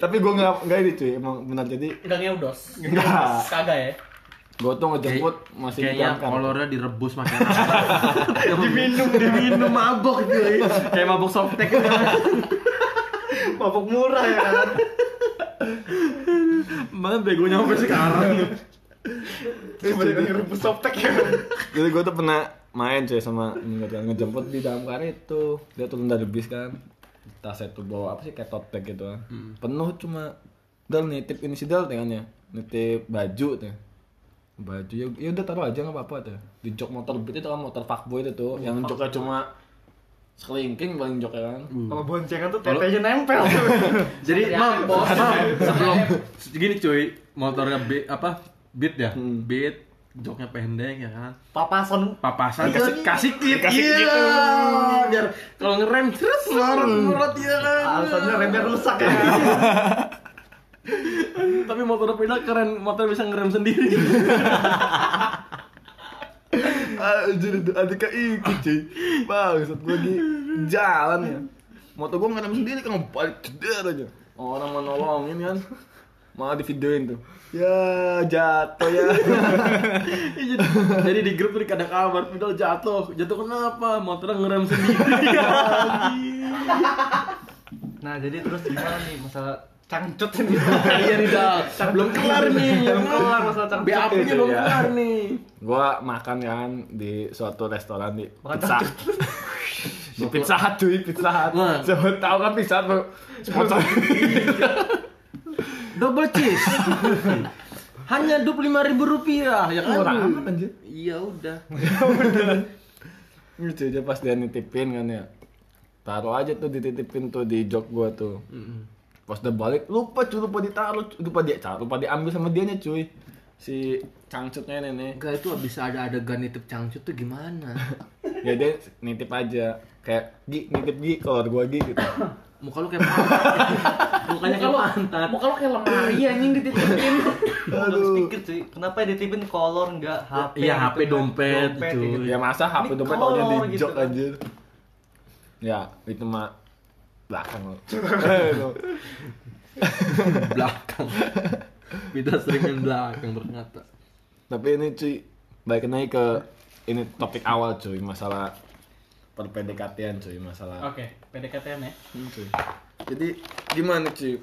Speaker 2: tapi gue nggak nggak ini cuy emang benar jadi
Speaker 3: Udah ngeudos.
Speaker 2: Enggak.
Speaker 3: Kagak ya.
Speaker 2: gue tuh ngejemput masih di
Speaker 1: Kayaknya
Speaker 2: Jangkar.
Speaker 1: kolornya direbus pakai apa?
Speaker 6: *laughs* Diminum, diminum mabok gitu ya. cuy.
Speaker 1: Kayak mabuk softtek.
Speaker 6: *laughs* Mabok murah ya kan.
Speaker 1: Mana begonya sampai sekarang.
Speaker 6: Sebenernya ngerebus softtek ya.
Speaker 2: Jadi gue tuh pernah main cuy sama ingat kan ngejemput di damkar itu dia turun dari bis kan tasnya tuh bawa apa sih kayak tote bag gitu kan penuh cuma dal nitip ini si dal tangannya nitip baju tuh baju ya, ya udah taruh aja nggak apa-apa tuh di jok motor beat itu kan motor fuckboy itu tuh yang joknya cuma selingking paling joknya kan
Speaker 6: Kalau boncengan tuh tetenya *laughs* nempel.
Speaker 1: Jadi mam,
Speaker 3: bos.
Speaker 1: mam sebelum gini cuy, motornya beat apa? Beat ya?
Speaker 2: Hmm.
Speaker 1: Beat joknya pendek ya kan.
Speaker 6: Papasan
Speaker 1: Papasan
Speaker 6: Iya.
Speaker 1: kasih kasih kit.
Speaker 2: Kasih kit.
Speaker 1: Iya. Biar kalau ngerem terus murut-murut ya kan.
Speaker 6: alasannya remnya rusak ya.
Speaker 1: Tapi motor pedal keren, motor bisa ngerem sendiri.
Speaker 6: *laughs*
Speaker 2: Ah, jadi itu adiknya ikut cuy Bangsat gue di jalan ya Motor gue ngerem sendiri kan balik ceder aja Orang mau nolongin kan Malah di videoin tuh Ya jatuh ya *laughs*
Speaker 1: Iya, jadi, jadi di grup tuh kadang kabar pedal jatuh. Jatuh kenapa? Motornya ngerem sendiri.
Speaker 6: Nah jadi terus gimana nih masalah cangcut ini?
Speaker 1: Iya nih Dal. belum kelar nih.
Speaker 6: Belum kelar masalah cangcut.
Speaker 1: BAP-nya
Speaker 2: Iya.
Speaker 1: belum kelar nih.
Speaker 2: Gue makan kan di suatu restoran di
Speaker 6: Makan
Speaker 2: pizza
Speaker 6: cangcut.
Speaker 2: Di pizza hut cuy, pizza hut
Speaker 1: Wah.
Speaker 2: Siapa tau kan pizza hut bro. sponsor
Speaker 1: Double cheese. Hanya dua lima ribu rupiah ya kan?
Speaker 2: Murah amat, anjir.
Speaker 1: Iya udah.
Speaker 2: Ini cuy dia pas dia nitipin kan ya Taruh aja tuh dititipin tuh di jok gue tuh pas udah balik lupa cuy lupa ditaruh cuy. lupa dia cuy, lupa diambil sama dianya cuy si cangcutnya nenek
Speaker 1: Enggak itu abis ada adegan nitip cangcut tuh gimana?
Speaker 2: ya dia nitip aja kayak gi nitip gi keluar gua gi
Speaker 6: *laughs*
Speaker 2: gitu
Speaker 1: Muka lu kayak pantat. Mukanya kayak pantat.
Speaker 3: Muka lo kayak lemari anjing dititipin.
Speaker 6: Harus pikir cuy, kenapa yang dititipin kolor nggak HP?
Speaker 1: Iya,
Speaker 4: gitu
Speaker 1: HP,
Speaker 6: kan?
Speaker 1: dompet,
Speaker 6: kayak
Speaker 1: cuy.
Speaker 2: ya masa hp
Speaker 6: Ini
Speaker 2: dompet taunya di
Speaker 6: kolor gitu
Speaker 2: jok
Speaker 6: kan.
Speaker 2: anjir ya itu mah belakang lo
Speaker 1: belakang. Kita sering yang belakang ternyata.
Speaker 2: tapi ini cuy baik naik ke ini topik awal cuy masalah perpedekatian cuy masalah
Speaker 3: Oke, PDKT-an ya.
Speaker 2: Hmm, cuy. Jadi gimana cuy?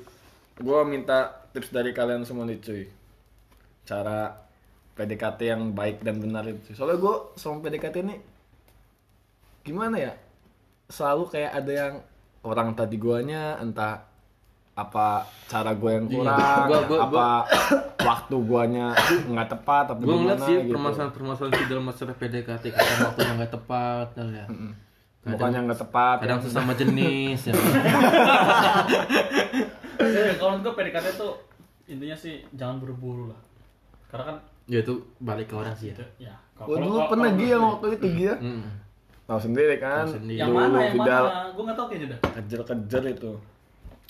Speaker 2: Gua minta tips dari kalian semua nih cuy. Cara PDKT yang baik dan benar itu. cuy. Soalnya gua sama PDKT ini gimana ya? Selalu kayak ada yang orang tadi guanya entah apa cara gue yang
Speaker 1: Iya,
Speaker 2: kurang,
Speaker 1: *laughs* gua- gua-
Speaker 2: apa waktu guanya nggak tepat apa
Speaker 1: Gue ngeliat
Speaker 2: gimana
Speaker 1: sih
Speaker 2: gitu.
Speaker 1: permasalahan-permasalahan di dalam masalah PDKT kadang waktu yang nggak tepat, Dal, ya.
Speaker 2: Bukannya nggak tepat.
Speaker 1: Kadang
Speaker 2: ya.
Speaker 1: sesama jenis
Speaker 2: *laughs*
Speaker 1: ya.
Speaker 3: Eh, kalau menurut gue PDKT tuh intinya sih jangan buru-buru lah. Karena kan
Speaker 1: Ya itu balik ke orang sih
Speaker 2: Gitu.
Speaker 1: ya.
Speaker 3: ya kalau
Speaker 2: Gua
Speaker 3: kalau-
Speaker 2: dulu
Speaker 3: kalau-
Speaker 2: pernah
Speaker 3: kalau-
Speaker 2: dia waktu itu dia.
Speaker 1: Mm.
Speaker 2: Tahu sendiri kan.
Speaker 1: Tahu sendiri.
Speaker 3: yang
Speaker 2: Dulu
Speaker 3: mana yang
Speaker 2: Fidal
Speaker 3: mana? Gue nggak tahu kayaknya dah.
Speaker 2: kejer-kejer itu.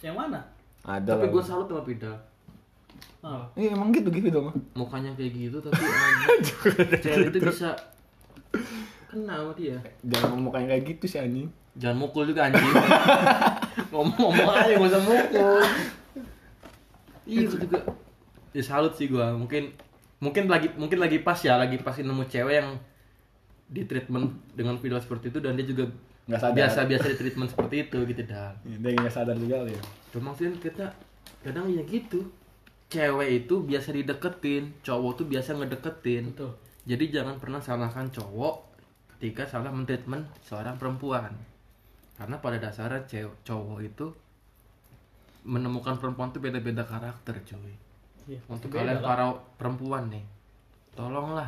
Speaker 3: Yang mana?
Speaker 2: Ada
Speaker 1: Tapi
Speaker 2: lah.
Speaker 1: gue salut sama Pida.
Speaker 3: Oh,
Speaker 2: Iya emang gitu gitu dong.
Speaker 1: Mukanya kayak gitu
Speaker 2: *laughs*
Speaker 1: tapi anjing. cewek
Speaker 2: gitu.
Speaker 1: itu bisa kena sama dia.
Speaker 2: Jangan ngomong kayak kayak gitu sih anjing.
Speaker 1: Jangan mukul juga anjing. Ngomong-ngomong aja gak usah mukul. Iya gue juga. Ya salut sih gua. Mungkin mungkin lagi mungkin lagi pas ya, lagi pas nemu cewek yang di treatment dengan video seperti itu dan dia juga
Speaker 2: Nggak sadar. Iya,
Speaker 1: biasa-biasa di treatment seperti itu gitu dan
Speaker 2: Dia nggak sadar juga kali ya.
Speaker 1: Cuma maksudnya kita kadang ya gitu. Cewek itu biasa dideketin, cowok tuh biasa ngedeketin.
Speaker 3: Betul.
Speaker 1: Jadi jangan pernah salahkan cowok ketika salah mentreatment seorang perempuan. Karena pada dasarnya cewek cowok itu menemukan perempuan tuh beda-beda karakter cuy
Speaker 3: Iya,
Speaker 1: untuk
Speaker 3: beda
Speaker 1: kalian
Speaker 3: lah.
Speaker 1: para perempuan nih tolonglah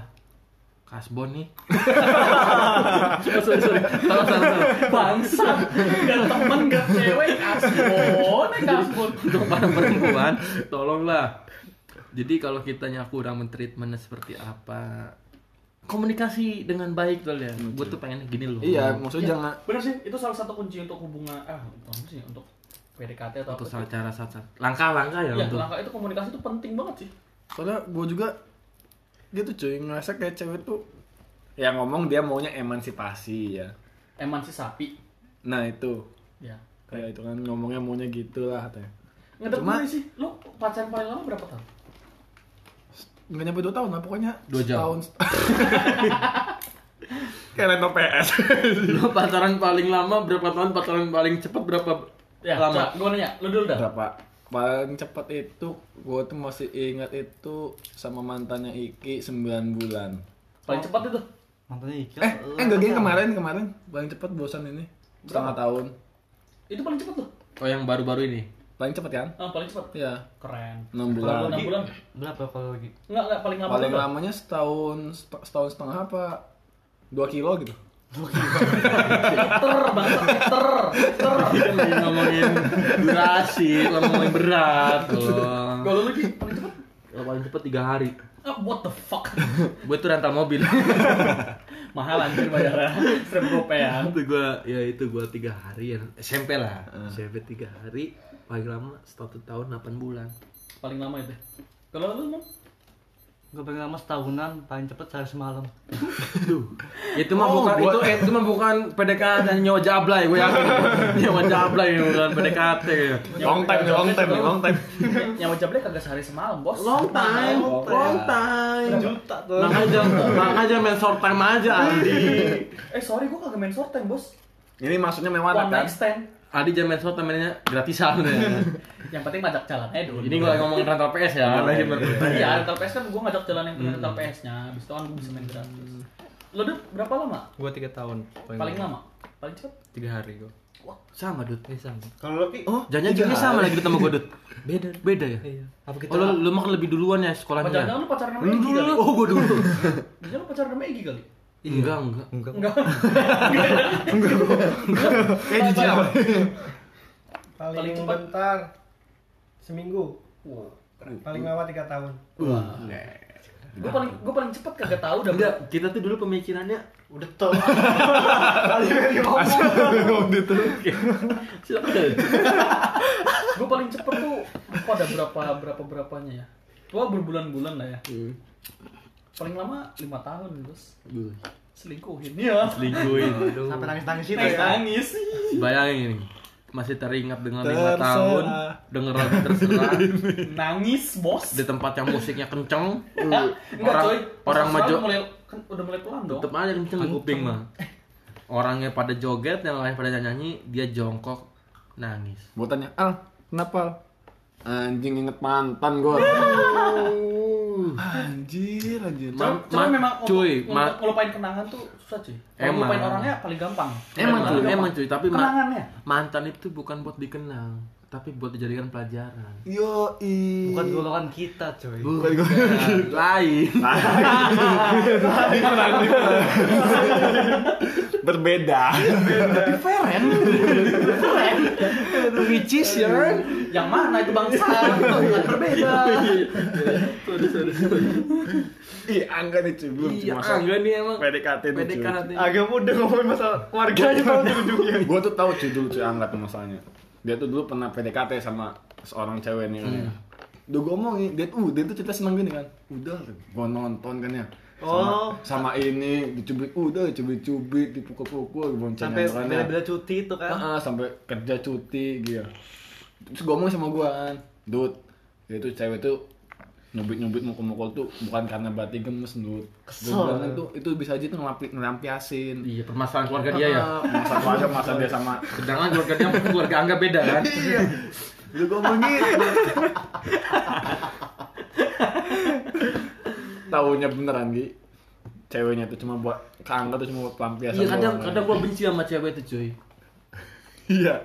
Speaker 1: kasbon nih *laughs*
Speaker 3: *laughs*
Speaker 1: sorry sorry sorry tolong sorry, sorry.
Speaker 3: Bangsa, gak temen, gak cewek, kasbon, eh, kasbon.
Speaker 1: untuk para perempuan tolonglah jadi kalau kitanya kurang mentreatmentnya seperti apa komunikasi dengan baik kalian gue tuh pengen gini loh
Speaker 2: Iya, maksudnya jangan
Speaker 3: Bener sih, itu salah satu kunci untuk hubungan, ah, apa sih, untuk PDKT atau
Speaker 1: untuk
Speaker 3: apa.
Speaker 1: salah cara salah salah- langkah-langkah ya,
Speaker 3: Ya,
Speaker 1: untuk
Speaker 3: langkah itu komunikasi itu penting banget sih.
Speaker 2: soalnya gue juga gitu cuy ngerasa kayak cewek tuh ya ngomong dia maunya emansipasi ya
Speaker 3: Eman sih sapi.
Speaker 2: nah itu
Speaker 3: Ya.
Speaker 2: kayak itu kan ngomongnya maunya gitu lah katanya
Speaker 3: Ngedep
Speaker 2: Cuma-
Speaker 3: gue sih, lu pacaran paling lama berapa tahun?
Speaker 2: nggak nyampe dua tahun lah pokoknya
Speaker 1: Dua jam.
Speaker 2: setahun *laughs* kayak rental PS
Speaker 1: Lu pacaran paling lama berapa tahun pacaran paling cepat berapa lama
Speaker 3: Gue Ya, nanya, lu dulu dah.
Speaker 2: berapa paling cepat itu gue tuh masih ingat itu sama mantannya Iki 9 bulan
Speaker 3: Paling cepat itu.
Speaker 4: Mantannya Iqil.
Speaker 2: eh eh enggak gini kemarin kemarin paling cepat bosan ini setengah tahun
Speaker 3: Itu paling cepat loh.
Speaker 1: oh yang baru-baru ini
Speaker 2: paling cepat kan
Speaker 3: Ah, paling cepat.
Speaker 2: ya
Speaker 3: Keren.
Speaker 2: 6
Speaker 3: Kalau
Speaker 2: bulan
Speaker 3: enam bulan,
Speaker 4: Berapa kalau lagi?
Speaker 3: enggak enggak paling lama.
Speaker 2: paling
Speaker 3: dulu dah.
Speaker 2: lamanya setahun set- setahun setengah apa dua kilo gitu
Speaker 3: Ter, bangsa ter, ter.
Speaker 1: Kan lagi ngomongin durasi ngomongin berat loh
Speaker 3: Kalau lu lagi paling cepat,
Speaker 1: Kalau paling cepat tiga hari
Speaker 3: ah, what the fuck?
Speaker 2: *laughs*
Speaker 1: gue tuh rental mobil
Speaker 3: Mahal anjir bayarnya. Seribu rupiah.
Speaker 1: *laughs* itu gue ya itu gue tiga hari ya SMP lah SMP tiga hari paling lama satu tahun 8 bulan
Speaker 3: Paling lama itu. Kalau lu Mam?
Speaker 4: Gue pengen lama setahunan, paling cepet sehari semalam.
Speaker 1: itu mah bukan itu eh, itu mah bukan PDKT dan nyawa jablay gue *laughs* yakin nyawa jablay bukan PDKT
Speaker 2: long time nih, long time nih, long
Speaker 3: *laughs*
Speaker 2: time
Speaker 3: Nyawa jablay kagak sehari semalam, Bos.
Speaker 1: long time long time
Speaker 4: Juta tuh.
Speaker 1: makanya jangan *laughs* makanya jangan main short time aja Aldi
Speaker 3: Eh, sorry gua kagak main short time, Bos.
Speaker 2: ini maksudnya
Speaker 3: One
Speaker 2: mewah kan
Speaker 3: night stand.
Speaker 1: Aldi jangan main short time mainnya gratisan ya
Speaker 3: Yang penting ngajak jalan aja dulu.
Speaker 1: ini gue lagi ngomongin rental PS ya lagi berputar
Speaker 3: Iya, rental PS kan gue ngajak jalan yang punya
Speaker 2: Hmm.
Speaker 3: rental PS-nya. Abis itu kan gue bisa main gratis. Lo Dut, berapa lama?
Speaker 5: Gue tiga tahun.
Speaker 3: Paling lama? Paling cepat?
Speaker 5: Tiga hari gue.
Speaker 1: sama Dut
Speaker 5: Ini Eh, sama.
Speaker 4: Kalau lo Pi,
Speaker 1: oh jangan jangan sama lagi ketemu gue Dut
Speaker 5: Beda.
Speaker 1: beda ya
Speaker 5: Iya. Apa kita?
Speaker 1: Oh, lu, lu makan lebih duluan ya
Speaker 3: Apa
Speaker 1: sekolahnya?
Speaker 3: jangan-jangan lo pacaran sama
Speaker 1: Lu
Speaker 3: Egy
Speaker 1: dulu.
Speaker 3: kali?
Speaker 1: Oh, gua
Speaker 5: *laughs*
Speaker 1: dulu.
Speaker 3: Jangan lo pacaran sama Egy kali?
Speaker 5: Iya.
Speaker 1: enggak, enggak.
Speaker 5: Enggak.
Speaker 3: Enggak.
Speaker 2: eh jijik apa
Speaker 8: paling,
Speaker 3: Paling cepat.
Speaker 8: bentar seminggu paling lama tiga tahun
Speaker 3: Gue paling gue paling cepat kagak tahu dah.
Speaker 1: Enggak, kita tuh dulu pemikirannya udah *laughs* tau.
Speaker 3: Gue paling cepat tuh pada berapa berapa berapanya ya? Gue berbulan-bulan lah ya.
Speaker 1: Iya.
Speaker 3: Paling lama lima tahun, Bos. Selingkuhin. Iya.
Speaker 1: Selingkuhin.
Speaker 4: sampai nangis-nangis gitu
Speaker 6: Iya.
Speaker 3: Nangis
Speaker 4: ya.
Speaker 3: nangis.
Speaker 1: Bayangin ini. Masih teringat dengan lima tahun denger lagu terserah
Speaker 3: Nangis, Bos.
Speaker 1: di
Speaker 3: Ya,
Speaker 1: tempat yang musiknya kenceng.
Speaker 3: Enggak,
Speaker 1: orang-
Speaker 3: coy.
Speaker 1: orang
Speaker 3: Pas
Speaker 1: maju-
Speaker 3: sekarang mulai kan udah mulai pelan dong.
Speaker 1: Tetep aja kenceng di kuping mah. Orangnya pada joget, yang lain pada nyanyi, dia jongkok nangis.
Speaker 2: gue tanya al kenapa Al?" anjing inget mantan *laughs* gue anjir anjir
Speaker 1: Ma-
Speaker 3: Cuma- cuma
Speaker 1: ma-
Speaker 3: memang untuk-
Speaker 1: cuy,
Speaker 3: untuk
Speaker 1: ma-
Speaker 3: ngelupain kenangan tuh susah cuy. Kalau
Speaker 1: Emang.
Speaker 3: ngelupain orangnya paling gampang.
Speaker 1: Emang
Speaker 3: Paling
Speaker 1: cuy,
Speaker 3: gampang.
Speaker 1: emang cuy, tapi ma-
Speaker 3: kenangannya.
Speaker 1: mantan itu bukan buat dikenang, tapi buat dijadikan pelajaran.
Speaker 2: yo i
Speaker 4: Bukan golongan kita cuy.
Speaker 1: Bukan. Lain.
Speaker 2: berbeda
Speaker 1: Which is your
Speaker 3: Yang mana itu
Speaker 1: *laughs*
Speaker 3: bangsa? Bukan berbeda.
Speaker 2: *laughs* ih angga nih cuy belum
Speaker 1: Iya,
Speaker 2: cuma
Speaker 1: enggak nih emang
Speaker 2: PDKT nih cuy
Speaker 1: PDKT.
Speaker 4: Agak mudah ngomongin masalah keluarganya tau
Speaker 2: *laughs*
Speaker 4: ujung-ujungnya.
Speaker 2: gue tuh tahu cuy dulu cuy angga tuh masalahnya dia tuh dulu pernah PDKT sama seorang cewek
Speaker 4: Hmm.
Speaker 2: nih kan ya udah gue omongin dia tuh uh, dia tuh cerita seneng gini kan udah gue nonton kan ya sama,
Speaker 4: Oh.
Speaker 2: sama ini dicubit udah dicubit-cubit dipukul-pukul boncengin
Speaker 4: Sampai
Speaker 2: kan ya.
Speaker 4: bila-bila cuti itu kan.
Speaker 2: Ah, ah, sampai kerja cuti gitu. Terus gue ngomong sama gue kan, Dut, itu cewek tuh nyubit-nyubit mukul-mukul tuh bukan karena batin gemes, Dut. Gue
Speaker 4: Kesel.
Speaker 2: bilang itu, itu bisa aja tuh ngelampi, ngelampiasin.
Speaker 1: Iya, permasalahan keluarga dia ya.
Speaker 2: Ah, Masa keluarga, masa dia sama.
Speaker 1: Sedangkan keluarga dia sama keluarga Angga beda kan?
Speaker 2: Lu gue ngomong gitu. Taunya beneran, Gi. Ceweknya tuh cuma buat, ke Angga tuh cuma buat pelampiasan.
Speaker 1: Iya, kadang
Speaker 2: doang. ya.
Speaker 1: kadang gua benci sama cewek itu, cuy.
Speaker 2: Iya.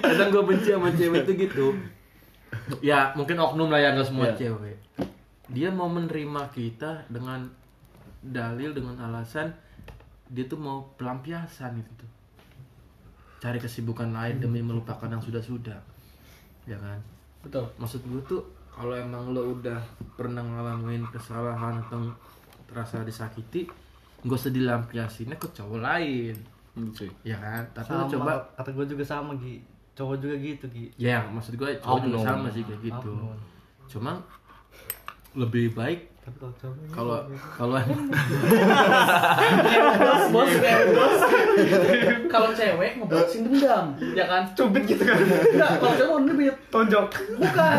Speaker 1: kadang gue benci sama cewek itu gitu ya mungkin oknum lah ya nggak semua
Speaker 2: Iya.
Speaker 1: cewek dia mau menerima kita dengan dalil dengan alasan dia tuh mau pelampiasan gitu tuh cari kesibukan lain demi melupakan yang sudah-sudah ya kan
Speaker 3: Betul.
Speaker 1: maksud gue tuh kalau emang lo udah pernah ngalamin kesalahan atau terasa disakiti nggak usah dilampiasinnya ke cowok lain
Speaker 2: Hmm, cuy.
Speaker 1: ya kan tapi lo
Speaker 4: sama,
Speaker 1: coba
Speaker 4: kata gue juga sama Gi cowok juga gitu Gi
Speaker 1: Ya, maksud gue cowok juga
Speaker 2: Oknum.
Speaker 1: sama sih kayak gitu. Cuma lebih baik
Speaker 4: tapi kalau cowok
Speaker 1: kalau kalau *laughs*
Speaker 3: Bos, bos, bos. Kalau cewek ngeboksin dendam, ya kan?
Speaker 8: Cubit gitu kan.
Speaker 3: Enggak, kalau cowok mau ngebit.
Speaker 8: Tonjok.
Speaker 3: Bukan.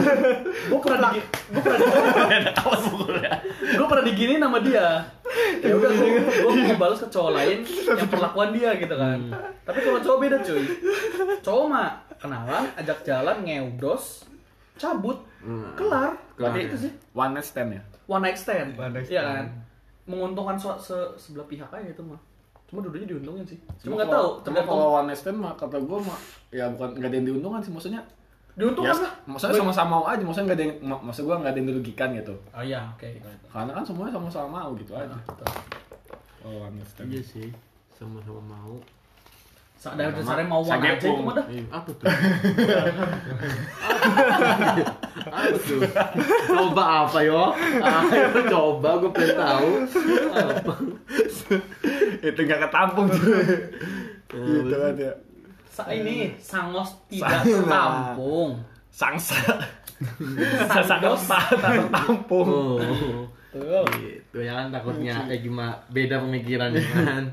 Speaker 3: Gue pernah di gue pernah Gue pernah digini sama dia. Ya udah gue mau balas ke cowok lain yang perlakuan dia gitu kan. Tapi kalau cowok beda cuy. Cowok mah kenalan, ajak jalan, ngeudos, cabut, kelar.
Speaker 1: Kelar,
Speaker 3: Kayak itu
Speaker 1: ya.
Speaker 3: sih.
Speaker 2: One night stand ya.
Speaker 3: One night stand.
Speaker 8: One night
Speaker 3: Iya kan?
Speaker 8: stand.
Speaker 3: Menguntungkan so- se- sebelah pihak aja itu mah. Cuma dua-duanya diuntungin sih. Cuma nggak tahu,
Speaker 2: kalau- Cuma
Speaker 3: tergantung
Speaker 2: kalau one night stand mah kata gue mah ya bukan nggak ada yang diuntungkan sih maksudnya.
Speaker 3: diuntungkan
Speaker 2: ya,
Speaker 3: lah.
Speaker 2: maksudnya sama-sama mau aja, maksudnya nggak ada yang, mak- maksud gue nggak ada yang dirugikan gitu.
Speaker 3: Oh iya, oke.
Speaker 2: Karena kan semuanya sama-sama mau gitu
Speaker 3: Nah, Ah.
Speaker 2: aja. Oh, one night stand.
Speaker 1: iya sih sama-sama mau.
Speaker 3: Sa- Dari dasarnya mau one aja itu
Speaker 2: Sagepung.
Speaker 3: mah dah.
Speaker 1: Eh, apa tuh? apa tuh? coba apa yo? Ayo coba gue pengen tahu. Apa?
Speaker 2: *laughs* itu nggak ketampung tuh. gitu aja.
Speaker 3: Sa- ini sangos tidak tertampung.
Speaker 2: Sangsa.
Speaker 3: Sangos
Speaker 2: Tak tertampung.
Speaker 1: Oh,
Speaker 3: Betul.
Speaker 1: gitu ya kan takutnya kayak gimana? Beda pemikiran ya kan?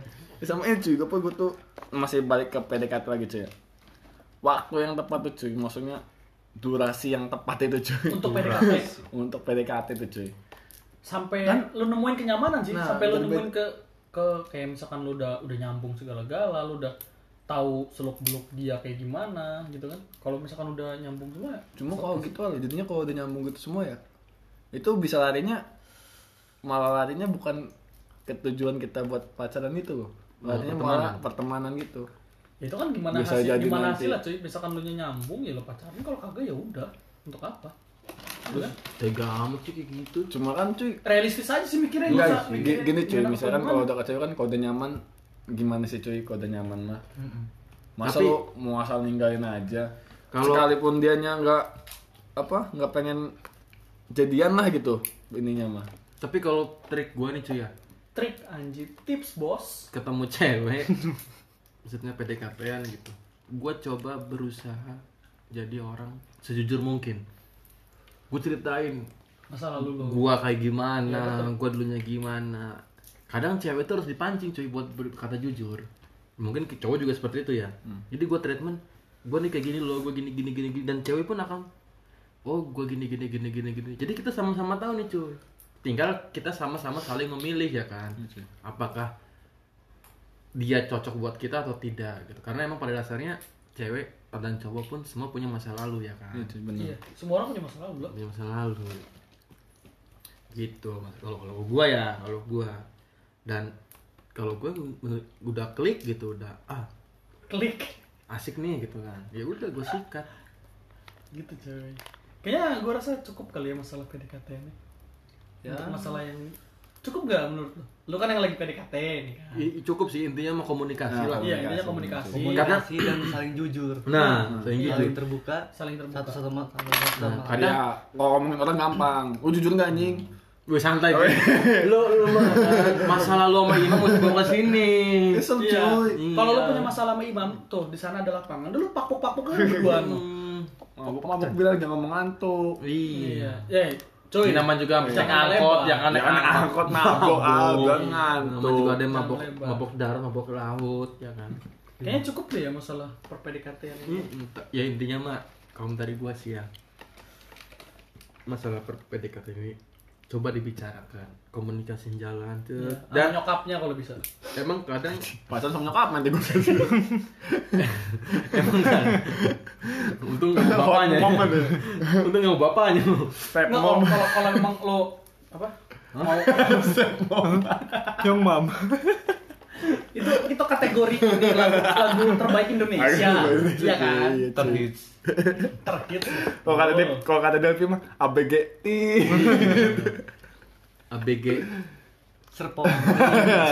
Speaker 2: sama ini cuy, gue tuh masih balik ke PDKT lagi cuy ya. Waktu yang tepat tuh cuy, maksudnya durasi yang tepat itu cuy.
Speaker 3: Untuk PDKT
Speaker 2: *laughs* Untuk PDKT itu cuy.
Speaker 3: sampai lu nemuin kenyamanan sih,
Speaker 2: Nah,
Speaker 3: sampai lu
Speaker 2: bener-bener.
Speaker 3: nemuin ke ke kayak misalkan lu udah udah nyambung segala-gala, lu udah tahu seluk beluk dia kayak gimana gitu kan. Kalau misalkan udah nyambung semua,
Speaker 2: Cuma kalau gitu lah, jadinya kalau udah nyambung gitu semua ya, itu bisa larinya malah larinya bukan ke tujuan kita buat pacaran itu loh. Larinya malah Oh, pertemanan gitu.
Speaker 3: ya itu kan gimana
Speaker 2: Bisa
Speaker 3: hasil
Speaker 2: jadi
Speaker 3: gimana
Speaker 2: nanti.
Speaker 3: hasil lah cuy. Misalkan lu nya nyambung ya lu pacaran, kalau kagak ya udah. Untuk apa? Gitu kan?
Speaker 1: *laughs* Tega amat sih kayak gitu.
Speaker 2: Cuma kan cuy,
Speaker 3: Realistis aja sih mikirnya
Speaker 2: Enggak,
Speaker 3: Nggak-
Speaker 1: Iya,
Speaker 2: gini, gini cuy,
Speaker 3: nggak dapat
Speaker 2: misalkan
Speaker 3: gimana.
Speaker 2: kalau udah kecewa kan kalau udah nyaman gimana sih cuy kalau udah nyaman mah. Masa
Speaker 1: Tapi-
Speaker 2: lu mau asal ninggalin aja.
Speaker 1: Kalau-
Speaker 2: Sekalipun dianya nggak apa, nggak pengen jadian lah gitu ininya mah.
Speaker 1: Tapi kalau trik gue nih cuy ya,
Speaker 3: trik anjir tips bos
Speaker 1: ketemu *laughs* cewek maksudnya PDKT-an gitu gue coba berusaha jadi orang sejujur mungkin gue ceritain
Speaker 3: masa lalu lo
Speaker 1: gue kayak
Speaker 2: Iya,
Speaker 1: gimana gue dulunya gimana kadang cewek tuh harus dipancing cuy buat berkata jujur mungkin ke cowok juga seperti itu ya
Speaker 2: Hmm.
Speaker 1: jadi gue treatment gue nih kayak gini loh gue gini gini gini gini dan cewek pun akan oh gue gini gini gini gini gini jadi kita sama-sama tahu nih cuy tinggal kita sama-sama saling memilih ya kan
Speaker 2: Iya,
Speaker 1: apakah dia cocok buat kita atau tidak gitu karena emang pada dasarnya cewek dan cowok pun semua punya masa lalu ya kan
Speaker 2: Iya cuy, bener.
Speaker 3: iya semua orang punya masa lalu lo
Speaker 1: punya masa lalu gitu mas kalau kalau gua ya kalau gua dan kalau gua menur- udah klik gitu udah ah
Speaker 3: klik
Speaker 1: asik nih gitu kan ya udah gua sikat
Speaker 3: gitu cuy kayaknya gue rasa cukup kali ya masalah PDKT ini untuk masalah yang ini. cukup gak menurut lo lo kan yang lagi PDKT nih kan
Speaker 1: I- cukup sih intinya mah komunikasi
Speaker 2: Nah,
Speaker 1: lah
Speaker 3: iya intinya komunikasi
Speaker 4: komunikasi dan saling jujur
Speaker 1: nah kayak gitu
Speaker 4: saling terbuka
Speaker 3: saling terbuka
Speaker 4: satu sama sama satu sama
Speaker 1: Nah,
Speaker 2: Ada kalau ngomongin orang gampang. Lu jujur nggak anjing?
Speaker 1: gue santai Gue. lo lo mah masalah lo sama imam mesti bawa ke sini
Speaker 2: Kesel
Speaker 3: Iya.
Speaker 2: cuy.
Speaker 3: Kalau lo punya masalah sama Imam, tuh di sana ada lapangan. Dulu pakpuk-pakpuk *laughs* kan berduaan. lo.
Speaker 1: Hmm,
Speaker 2: Mabuk mabuk bilang jangan ngomong ngantuk.
Speaker 1: iya
Speaker 3: Iya. Eh, cuy.
Speaker 1: ini nama juga bisa angkot
Speaker 3: Jangan lebar.
Speaker 1: yang
Speaker 2: Anak
Speaker 1: aneh
Speaker 2: anak angkot mabuk ah, bilang ngantuk.
Speaker 1: Nama juga ada yang mabok
Speaker 3: Jangan lebar.
Speaker 1: mabok darat, mabok laut, ya kan.
Speaker 3: Kayaknya cukup deh ya masalah per PDKT ini.
Speaker 1: Hmm, ent- ya intinya mak, kalau dari gua sih ya masalah per PDKT ini coba dibicarakan, komunikasi jalan
Speaker 3: Ya,
Speaker 1: tuh.
Speaker 3: Dan
Speaker 1: Dan
Speaker 3: nyokapnya kalau bisa.
Speaker 1: emang kadang
Speaker 2: Pacaran sama nyokap nanti gue
Speaker 3: Iya,
Speaker 1: emang kan untung nggak bawa bapaknya, untung nggak bawa bapaknya.
Speaker 2: Step
Speaker 3: Nggak, kalau kalau kalau memang lo apa? Mau
Speaker 2: Step mom.
Speaker 8: Yang mam.
Speaker 3: itu itu kategori ini lagu, lagu terbaik Indonesia iya Oh, kan
Speaker 2: Terhits.
Speaker 3: terhits
Speaker 2: Kalau kata Del, kalau kata Delphi mah ABG.
Speaker 1: *laughs*
Speaker 2: *laughs*
Speaker 1: ABG
Speaker 3: serpong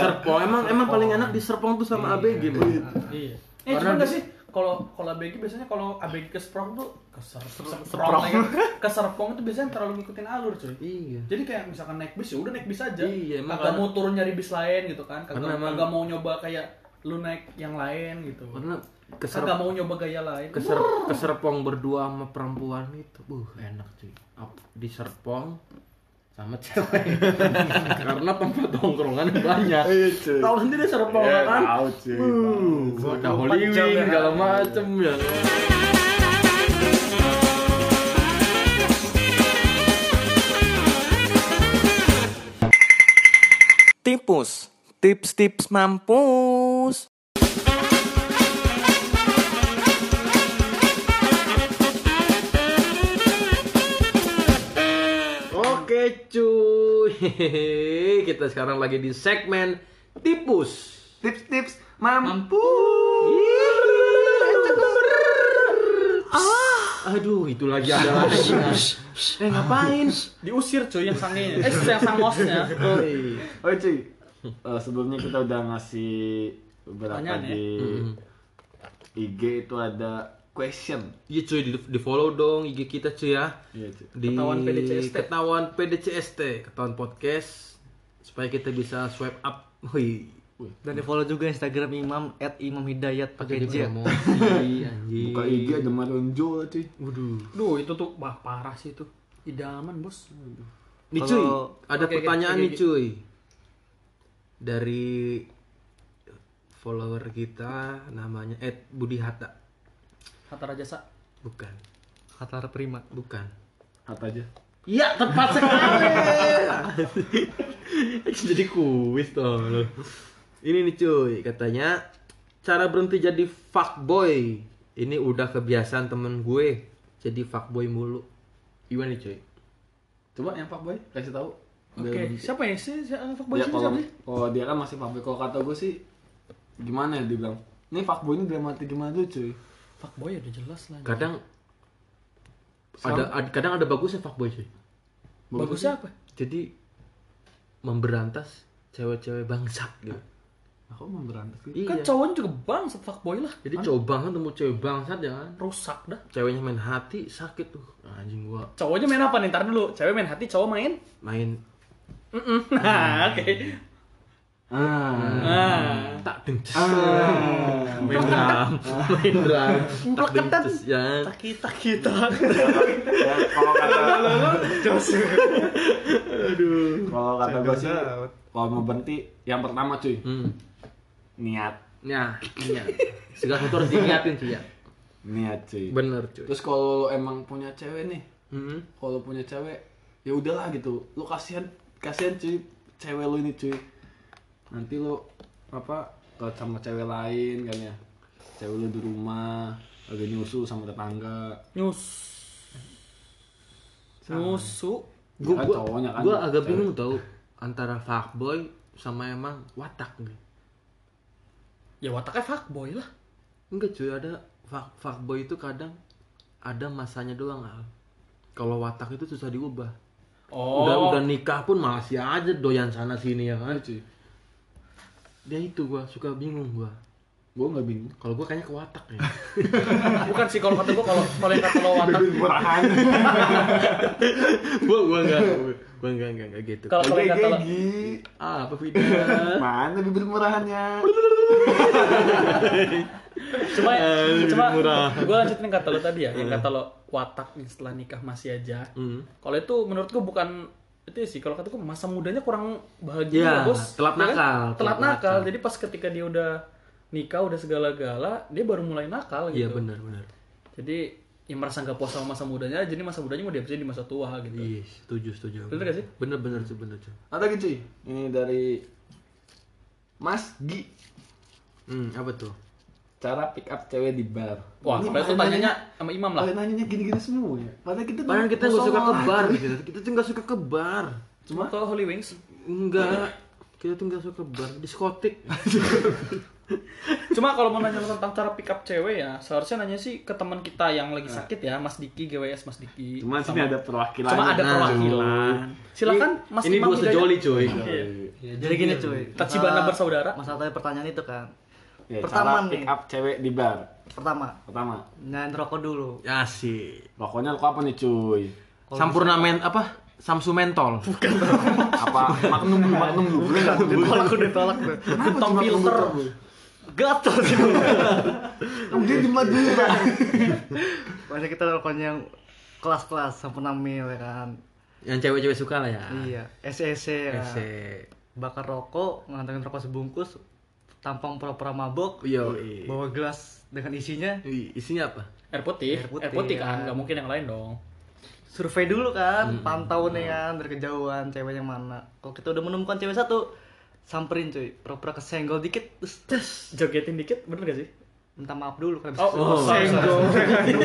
Speaker 1: Serpong emang emang paling enak di Serpong tuh sama ABG mah.
Speaker 3: iya eh cuman gak sih kalau kalau ABG biasanya kalau ABG ke Serpong tuh ke Ser- Serpong lagi. ke Serpong itu biasanya terlalu ngikutin alur cuy
Speaker 1: Iya.
Speaker 3: jadi kayak misalkan naik bis ya udah naik bis aja
Speaker 1: Iya, emang
Speaker 3: kagak
Speaker 1: karena-
Speaker 3: mau turun nyari bis lain gitu kan kagak
Speaker 1: Karena emang-
Speaker 3: kagak mau nyoba kayak lu naik yang lain gitu
Speaker 1: Karena ke Serpong
Speaker 3: kagak mau nyoba gaya lain
Speaker 1: ke, Ser- ke Serpong berdua sama perempuan itu uh enak cuy Ap- di Serpong sama cewek *laughs* karena tempat tongkrongan banyak
Speaker 2: Iya, cuy.
Speaker 1: tahu sendiri Serpong
Speaker 2: Iya,
Speaker 1: kan
Speaker 2: tahu, cuy.
Speaker 1: uh ada Holy
Speaker 2: jam
Speaker 1: Wing
Speaker 2: ya.
Speaker 1: segala macem ya
Speaker 6: Tipus, tips-tips mampus.
Speaker 1: Oke cuy, *laughs* Hehehe, kita sekarang lagi di segmen tipus.
Speaker 4: Tips-tips mampu.
Speaker 1: Aduh, itu lagi ada lagi. Eh ngapain?
Speaker 3: diusir cuy yang sangenya *laughs* eh yang sangosnya
Speaker 2: Oke, Oh, iya, cuy. Eh, sebelumnya kita udah ngasih beberapa
Speaker 3: Pertanyaan, ya?
Speaker 2: di
Speaker 1: Mm-mm.
Speaker 2: ya? IG itu ada question.
Speaker 1: Iya cuy, di, di follow dong IG kita cuy ya.
Speaker 2: Iya, cuy.
Speaker 1: Di
Speaker 3: Ketahuan PDCST.
Speaker 1: Ketahuan PDCST, ketahuan podcast supaya kita bisa swipe up. Wih.
Speaker 6: Dan di follow juga Instagram Imam at Imam Hidayat
Speaker 1: Jadi
Speaker 6: pakai J.
Speaker 5: *laughs*
Speaker 1: promosi anjing.
Speaker 2: Buka IG ada Marlon Jo, cuy.
Speaker 1: Waduh.
Speaker 5: Duh, itu tuh wah parah sih itu. Idaman, Bos.
Speaker 1: Nih cuy,
Speaker 6: Kalau-
Speaker 1: ada
Speaker 5: Oke, oke,
Speaker 1: pertanyaan
Speaker 5: oke,
Speaker 1: nih cuy. Dari follower kita namanya Ed Budi Hatta.
Speaker 3: Hatta Rajasa
Speaker 1: Bukan,
Speaker 6: Kata Prima.
Speaker 1: bukan.
Speaker 2: Hat aja.
Speaker 1: Iya, tepat sekali. *laughs* jadi kuis dong lu. Ini nih cuy, katanya cara berhenti jadi fuckboy. Ini udah kebiasaan temen gue jadi fuckboy mulu. Gimana nih cuy?
Speaker 2: Coba yang Pak Boy kasih tahu.
Speaker 3: *laughs* oke siapa ya sih si anak fuckboy
Speaker 2: Dia
Speaker 3: sini
Speaker 2: kalau
Speaker 3: siapa sih
Speaker 2: kalau dia kan masih fuckboy. Kalau kata gue sih gimana ya dibilang? Ini fuckboy ini dalam arti gimana tuh, cuy?
Speaker 5: Fuckboy udah jelas lah.
Speaker 1: Kadang ada, ada- kadang ada bagusnya fuckboy cuy.
Speaker 5: Bagusnya apa?
Speaker 3: ya?
Speaker 1: Jadi memberantas cewek-cewek bangsat gitu.
Speaker 2: Aku mau berantem sih.
Speaker 1: Iya.
Speaker 5: Kan cowoknya juga bangsat fuckboy lah.
Speaker 1: Jadi cowok bangsat temu cewek bangsat ya kan.
Speaker 5: Rusak dah.
Speaker 1: Ceweknya main hati sakit tuh. Anjing gua
Speaker 3: cowoknya main apa nih ntar dulu cewek main hati cowok main
Speaker 1: main
Speaker 3: *laughs* nah oke
Speaker 2: Ah.
Speaker 3: nah
Speaker 1: tak dengces. Ah. main drum, main drum. tak dengces ya.
Speaker 3: kita kita *laughs*
Speaker 2: Ya, kalau kata kalau kata gue sih kalau mau berhenti yang pertama cuy
Speaker 1: Hmm.
Speaker 2: niat
Speaker 1: Nah, iya. Segala sesuatu harus diniatin sih ya.
Speaker 2: niat cuy
Speaker 1: Bener cuy.
Speaker 2: terus kalau lo emang punya cewek nih
Speaker 1: Hmm.
Speaker 2: kalau punya cewek ya udahlah gitu lo kasihan kasihan cuy cewek lo ini cuy nanti lo apa kalau sama cewek lain kan ya cewek lo di rumah lagi nyusu sama tetangga
Speaker 5: Nyus. Nyusu.
Speaker 1: Gua,
Speaker 2: Ya kan,
Speaker 1: gua,
Speaker 2: cowoknya kan,
Speaker 1: gua agak
Speaker 2: cewek.
Speaker 1: bingung tau antara fuckboy sama emang watak nih.
Speaker 5: Ya wataknya fuckboy lah.
Speaker 1: Enggak cuy, ada fuck, fuckboy itu kadang ada masanya doang Al. Kalau watak itu susah diubah.
Speaker 3: oh
Speaker 1: Udah udah nikah pun masih aja doyan sana sini ya kan cuy. Dia itu gua suka bingung gua.
Speaker 2: gue nggak bingung
Speaker 1: Kalau gua kayaknya ke watak ya.
Speaker 3: bukan sih kalau kata gua kalau kalau yang kata lo watak
Speaker 2: *laughs* murahan
Speaker 1: gua gua enggak gua enggak enggak, enggak gitu.
Speaker 3: kalau kalau yang kata lo
Speaker 1: Ah, apa beda?
Speaker 2: mana bibir murahannya
Speaker 3: cuma *laughs* cuma gua lanjutin yang kata lo tadi ya yang kata lo watak nih setelah nikah masih aja
Speaker 1: Hmm.
Speaker 3: kalau itu menurut gua bukan itu sih kalau kata gua masa mudanya kurang bahagia
Speaker 1: Iya,
Speaker 3: lah, bos
Speaker 1: telat
Speaker 3: Ya kan?
Speaker 1: nakal,
Speaker 3: telat
Speaker 1: telat
Speaker 3: nakal
Speaker 1: nakal.
Speaker 3: jadi pas ketika dia udah nikah udah segala-gala dia baru mulai nakal gitu
Speaker 1: Iya benar benar.
Speaker 3: jadi yang merasa nggak puas sama masa mudanya jadi masa mudanya mau dihabisin di masa tua gitu
Speaker 1: Iya, setuju setuju.
Speaker 3: Bener gak sih?
Speaker 1: Bener bener cuy, bener cuy.
Speaker 2: ada gitu cuy ini dari Mas Gi
Speaker 1: Hmm, apa tuh?
Speaker 2: cara pick up cewek di bar
Speaker 3: wah
Speaker 2: Ini
Speaker 3: kalau itu
Speaker 2: pada
Speaker 3: tanyanya sama imam lah
Speaker 2: pada nanyanya gini-gini semua ya padahal kita
Speaker 1: Padahal kita nggak
Speaker 2: kosong
Speaker 1: suka ke
Speaker 2: lah.
Speaker 1: bar gitu. Kita tuh nggak suka ke bar.
Speaker 3: cuma kalau Holy Wings
Speaker 1: Enggak. Kita tuh nggak suka bar, diskotik.
Speaker 3: Cuma kalau mau nanya tentang cara pick up cewek ya, seharusnya nanya sih ke teman kita yang
Speaker 2: Nah.
Speaker 3: lagi sakit ya, Mas Diki, GWS Mas Diki.
Speaker 2: Cuman sini ada perwakilan.
Speaker 3: Cuma ada perwakilan. *laughs* Silakan Mas
Speaker 1: Ini
Speaker 3: Imam
Speaker 1: gua
Speaker 3: Hidayat. Iya.
Speaker 1: sejoli cuy.
Speaker 6: Ya, jadi gini cuy.
Speaker 3: Tachibana
Speaker 6: masalah-
Speaker 3: bersaudara.
Speaker 6: Masalah tadi pertanyaan itu kan.
Speaker 2: Ya,
Speaker 6: Pertama
Speaker 2: cara pick
Speaker 6: nih.
Speaker 2: up cewek di bar.
Speaker 6: Pertama,
Speaker 2: Pertama,
Speaker 6: nyalain rokok dulu.
Speaker 1: Ya, Asik.
Speaker 2: rokoknya rokok apa nih cuy?
Speaker 1: Sampurna men apa? Samsu mentol.
Speaker 2: Apa Magnum dulu, Magnum dulu. Boleh nggak?
Speaker 6: Ditolak udah tolak tuh.
Speaker 3: Tom filter.
Speaker 6: Gatel sih.
Speaker 2: Kemudian di Madura.
Speaker 6: Masa kita rokoknya yang kelas-kelas sampurna mil ya kan.
Speaker 1: Yang cewek-cewek suka lah ya.
Speaker 6: Iya, SEC ya.
Speaker 1: Asik.
Speaker 6: Bakar rokok, ngantengin rokok sebungkus, tampang pura-pura mabok,
Speaker 1: Iya.
Speaker 6: bawa gelas dengan isinya,
Speaker 1: Wih, Isinya apa?
Speaker 3: Air putih,
Speaker 6: Air putih,
Speaker 3: air putih
Speaker 6: ya.
Speaker 3: kan, nggak mungkin yang lain dong.
Speaker 6: survei dulu kan, pantau nih kan dari kejauhan cewek yang mana. Kalau kita udah menemukan cewek satu, samperin cuy, pura-pura kesenggol dikit, terus terus
Speaker 3: Jogetin dikit, bener gak sih?
Speaker 6: minta maaf dulu kan.
Speaker 3: Oh, oh senggol.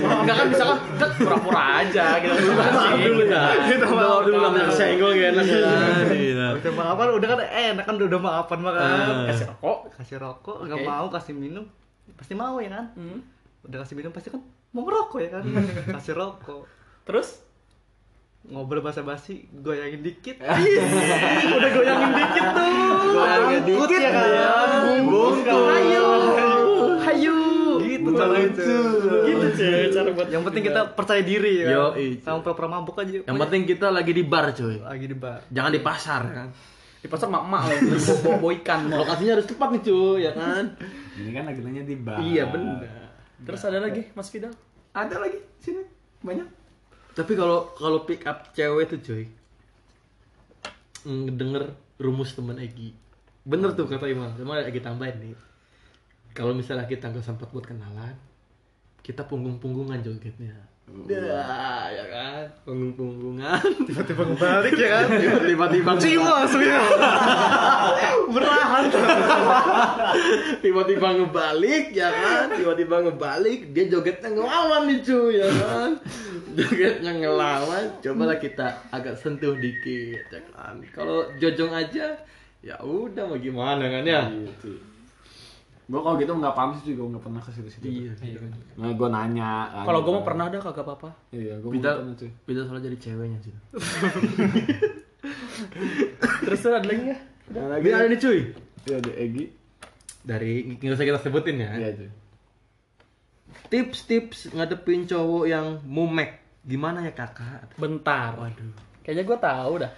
Speaker 3: Enggak kan bisa kan dek, pura-pura aja gitu. Maaf dulu
Speaker 1: Kita mau dulu nggak bisa senggol gak enak ya. Iya.
Speaker 6: Udah maafan, udah kan enak kan udah maafan mah kan.
Speaker 3: Eh, Kasih rokok.
Speaker 6: Kasih rokok, nggak
Speaker 3: Oke.
Speaker 6: mau kasih minum, pasti mau ya kan.
Speaker 3: Hmm.
Speaker 6: Udah kasih minum pasti kan mau ngerokok ya kan. kasih rokok.
Speaker 3: Terus
Speaker 6: ngobrol bahasa basi goyangin dikit udah goyangin dikit tuh goyangin dikit ya kan bungkus hayu hayu gitu cara itu
Speaker 3: gitu sih cara buat
Speaker 6: yang penting kita percaya diri ya
Speaker 1: Yo, iya.
Speaker 6: sama pura-pura mabuk aja
Speaker 1: Yang penting kita lagi di bar cuy.
Speaker 6: lagi di bar
Speaker 1: Jangan di pasar kan.
Speaker 3: di pasar mak-mak lagi bawa ikan.
Speaker 1: Lokasinya harus tepat nih cuy, ya kan?
Speaker 2: Ini kan lagi nanya di bar.
Speaker 1: Iya benar.
Speaker 3: Terus ada lagi Mas Fidal?
Speaker 2: Ada lagi sini banyak.
Speaker 1: Tapi kalau kalau pick up cewek tuh cuy mm, denger rumus teman Egi. Bener tuh kata Imam. Cuma Egi tambahin nih. Kalau misalnya kita nggak sempat buat kenalan, kita punggung-punggungan jogetnya. Dah, ya kan? Punggung-punggungan. *laughs* Tiba-tiba balik ya kan? Tiba-tiba
Speaker 6: Cimo langsung ya
Speaker 1: *laughs* tiba-tiba ngebalik ya kan tiba-tiba ngebalik dia jogetnya ngelawan nih cuy ya kan jogetnya ngelawan cobalah kita agak sentuh dikit ya kan kalau jojong aja ya udah mau gimana kan ya
Speaker 2: Iya cuy. Gue kalau gitu nggak paham sih, gue nggak pernah ke
Speaker 1: Iya.
Speaker 2: situ-situ. Nah, gue nanya. nanya.
Speaker 3: Kalau gue mau pernah ada kagak apa-apa.
Speaker 2: Iya, gue
Speaker 1: Bida,
Speaker 2: mau pernah cuy.
Speaker 1: bida soalnya jadi ceweknya sih.
Speaker 3: Terus ada lagi ya?
Speaker 1: Dia ada nih cuy.
Speaker 2: Iya, ada Egi.
Speaker 1: Dari nggak usah kita sebutin ya.
Speaker 2: Iya cuy.
Speaker 1: Tips-tips ngadepin cowok yang mumek. Gimana ya kakak?
Speaker 3: Bentar. Waduh. Kayaknya gue tahu dah.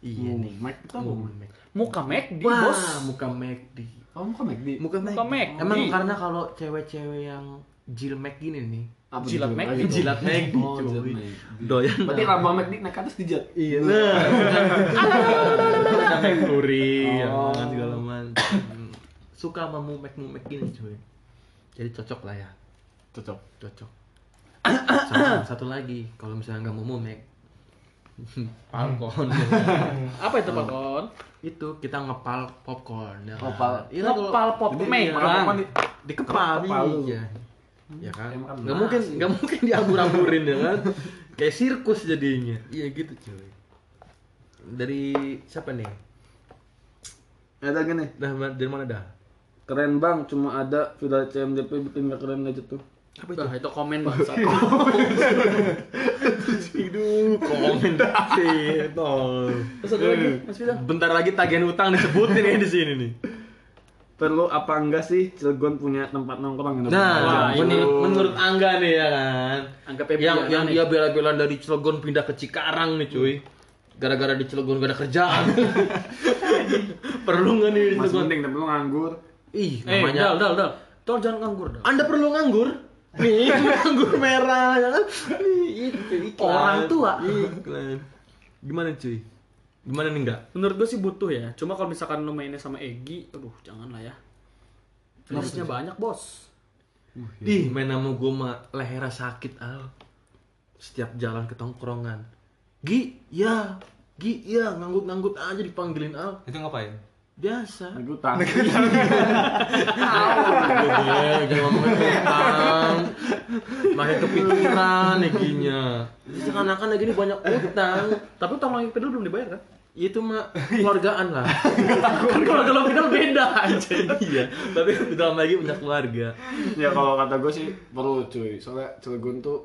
Speaker 1: Iya nih.
Speaker 2: Mike itu apa?
Speaker 1: Mumek.
Speaker 3: Muka McD,
Speaker 1: Wah,
Speaker 3: bos.
Speaker 1: muka McD.
Speaker 2: Kamu kok McD?
Speaker 1: Muka Mac.
Speaker 3: Muka Mac.
Speaker 1: Emang
Speaker 3: Iya.
Speaker 1: karena kalau cewek-cewek yang jilmek gini nih,
Speaker 2: Apa
Speaker 3: Jilat
Speaker 2: tuh?
Speaker 3: Mac,
Speaker 2: Lagi dong.
Speaker 1: jilat Mac,
Speaker 2: Oh,
Speaker 1: cuy.
Speaker 2: jilat Mac.
Speaker 1: doyan
Speaker 2: Berarti rambut McD naik ke atas dijat.
Speaker 1: Iya. Nah, sampai kuri,
Speaker 2: Oh.
Speaker 1: kan segala macam. Suka sama mumek-mumek gini cuy. Jadi cocok lah ya,
Speaker 2: Cocok.
Speaker 1: cocok. Sama satu lagi, kalau misalnya nggak mau mumek, popcorn.
Speaker 3: Apa itu Pak Kon?
Speaker 1: *laughs* itu kita ngepal popcorn. Ya. kan?
Speaker 2: Ngepal.
Speaker 1: Iya, kalau- iya,
Speaker 3: Ngepal pop
Speaker 2: Jadi,
Speaker 3: Mac,
Speaker 2: makan
Speaker 3: Bang.
Speaker 2: popcorn di-
Speaker 1: dikepal
Speaker 2: Kepal lu.
Speaker 1: iya ya kan
Speaker 2: Emang kan
Speaker 1: nggak mungkin nggak mungkin diabur-aburin ya kan kayak sirkus jadinya iya gitu cuy dari siapa nih
Speaker 2: Ada gini.
Speaker 1: dah ma- dari mana dah
Speaker 2: Keren bang, cuma ada Villa CMDP bikin gak keren aja tuh.
Speaker 3: Apa itu? itu komen
Speaker 1: *laughs*
Speaker 3: bangsa.
Speaker 1: aduh komen *laughs* sih Iya, tol
Speaker 3: Terus ada lagi Mas Fidal.
Speaker 1: bentar lagi tagihan utang disebutin ya di sini nih
Speaker 2: Perlu apa enggak sih Cilegon punya tempat nongkrong gitu? yang
Speaker 1: nah
Speaker 2: ya,
Speaker 3: Wah,
Speaker 1: menurut,
Speaker 3: ini-
Speaker 1: menurut angga nih ya kan
Speaker 3: Anggap ya, aja
Speaker 1: yang yang
Speaker 3: nih.
Speaker 1: dia bela-belaan dari Cilegon pindah ke Cikarang nih cuy gara-gara di Cilegon gak ada kerjaan perlu nggak nih di
Speaker 2: Masih
Speaker 1: Cilegon
Speaker 2: mending tapi lu nganggur.
Speaker 1: Ih,
Speaker 3: Eh,
Speaker 1: namanya.
Speaker 3: dal, dal, dal. Tol jangan nganggur,
Speaker 1: *laughs*
Speaker 3: dal.
Speaker 1: Anda perlu nganggur. Nih, nganggur merah, ya kan? Nih, itu iklan.
Speaker 3: Orang tua.
Speaker 1: Iklan. Gimana cuy? Gimana nih enggak?
Speaker 3: Menurut gue sih butuh ya. Cuma kalau misalkan lu mainnya sama Egi, aduh jangan lah ya. Harusnya banyak bos.
Speaker 1: Ih, main nama gue mah lehernya sakit al. Setiap jalan ke tongkrongan. Gi, ya, Gi, ya, nganggut-nganggut aja dipanggilin al.
Speaker 9: Itu ngapain?
Speaker 1: Biasa.
Speaker 2: *laughs* Ngutang.
Speaker 1: Udah, Iya, jangan ngomongin utang makin kepikiran ya ginya seakan-akan lagi ini banyak utang Iya
Speaker 3: Tapi utang lagi pedul belum dibayar kan?
Speaker 1: itu mah keluargaan lah
Speaker 3: Kalau kalau final beda aja.
Speaker 1: iya tapi dalam lagi punya keluarga
Speaker 2: ya kalau kata gue sih perlu cuy soalnya Cilegon tuh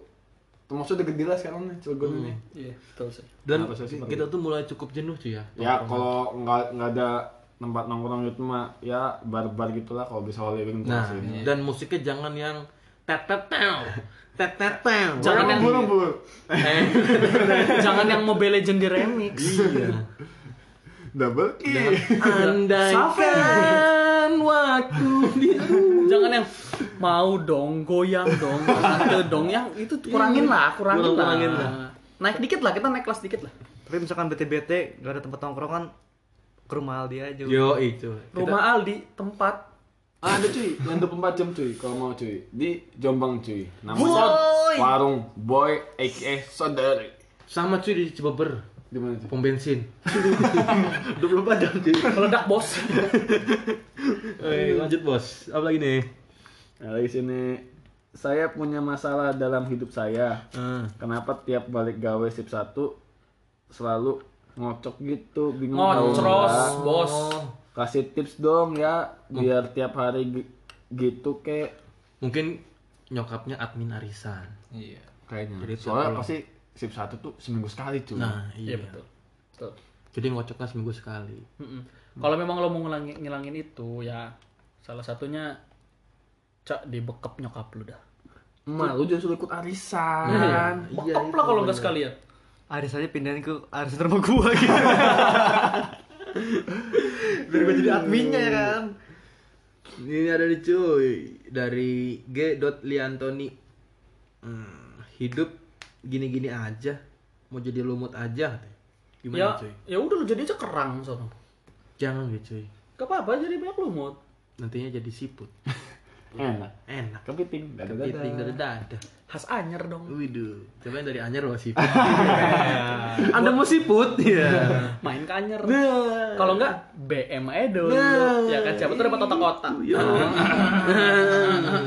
Speaker 2: termasuk udah gede lah sekarang nih Cilegon ini
Speaker 3: Iya, betul sih.
Speaker 1: dan
Speaker 2: Kenapa sih?
Speaker 1: kita tuh mulai cukup jenuh cuy ya
Speaker 2: ya kalau nggak nggak ada tempat nongkrong gitu mah ya bar-bar gitulah kalau bisa all living tuh
Speaker 1: nah
Speaker 2: sih.
Speaker 1: dan musiknya jangan yang Eh. tet tet tew tet tet tew
Speaker 2: jangan
Speaker 3: Jangan yang-
Speaker 2: buru-buru
Speaker 3: *laughs* Jangan yang Mobile Legend di remix.
Speaker 1: iya
Speaker 2: *laughs* double kill
Speaker 1: andaikan waktu di
Speaker 3: Jangan yang mau dong, goyang dong, tante dong yang itu Iya. kurangin lah, kurangin,
Speaker 1: Kurang-kurangin
Speaker 3: lah. Naik dikit lah, kita naik kelas dikit lah.
Speaker 6: Tapi misalkan bete-bete gak ada tempat nongkrongan ke rumah Aldi aja.
Speaker 1: yo itu
Speaker 3: Rumah Aldi tempat
Speaker 2: Ah, ada cuy, yang 24 jam cuy, kalau mau cuy di Jombang cuy, namanya
Speaker 6: Boy!
Speaker 2: warung Boy aka Saudari.
Speaker 1: sama cuy di Cibeber
Speaker 2: Di mana tuh?
Speaker 1: pom *laughs* bensin 24 jam cuy
Speaker 3: meledak *laughs* bos.
Speaker 1: Oke, Eh, lanjut bos apa lagi nih
Speaker 2: Nah, dari sini saya punya masalah dalam hidup saya.
Speaker 1: Ah.
Speaker 2: Kenapa tiap balik gawe sip 1 selalu ngocok gitu, bingung tahu
Speaker 3: Ngocros
Speaker 1: Ah.
Speaker 2: nggak.
Speaker 3: bos.
Speaker 2: Kasih tips dong ya biar tiap hari gi- gitu kek
Speaker 1: mungkin nyokapnya admin arisan
Speaker 2: kayaknya.
Speaker 1: Jadi tiap
Speaker 2: Soalnya
Speaker 1: pulang.
Speaker 2: pasti sip 1 tuh seminggu sekali cuy.
Speaker 1: nah iya,
Speaker 3: Iya betul. Betul.
Speaker 1: jadi ngocoknya seminggu sekali
Speaker 3: Mm-mm. Kalau memang lo mau ngilangi- ngilangin itu ya salah satunya cak di bekap nyokap lu dah.
Speaker 2: Emak, lu jangan suruh ikut arisan.
Speaker 1: Iya,
Speaker 3: Bekap lah kalau nggak sekalian.
Speaker 6: Aris aja pindahin ke Aris rumah gua gitu. *laughs* Biar gua jadi adminnya ya kan.
Speaker 1: Ini ada nih cuy dari G.Liantoni. Hmm, hidup gini-gini aja, mau jadi lumut aja.
Speaker 3: ya,
Speaker 1: Gimana cuy?
Speaker 3: ya udah lu jadi aja kerang sono.
Speaker 1: Jangan gitu cuy.
Speaker 3: Gak apa-apa jadi banyak lumut.
Speaker 1: Nantinya jadi siput.
Speaker 2: Enak.
Speaker 1: Enak.
Speaker 2: Kepiting,
Speaker 1: Kepiting dari dada.
Speaker 3: Khas anyer dong.
Speaker 1: Widuh, cobain dari anyer loh siput. Anda mau siput? Iya.
Speaker 3: *laughs* Main ke anyer. Kalau enggak BM aja dulu.
Speaker 1: Nah.
Speaker 3: Ya kan siapa tuh dapat otak-otak.
Speaker 1: Iya. *laughs*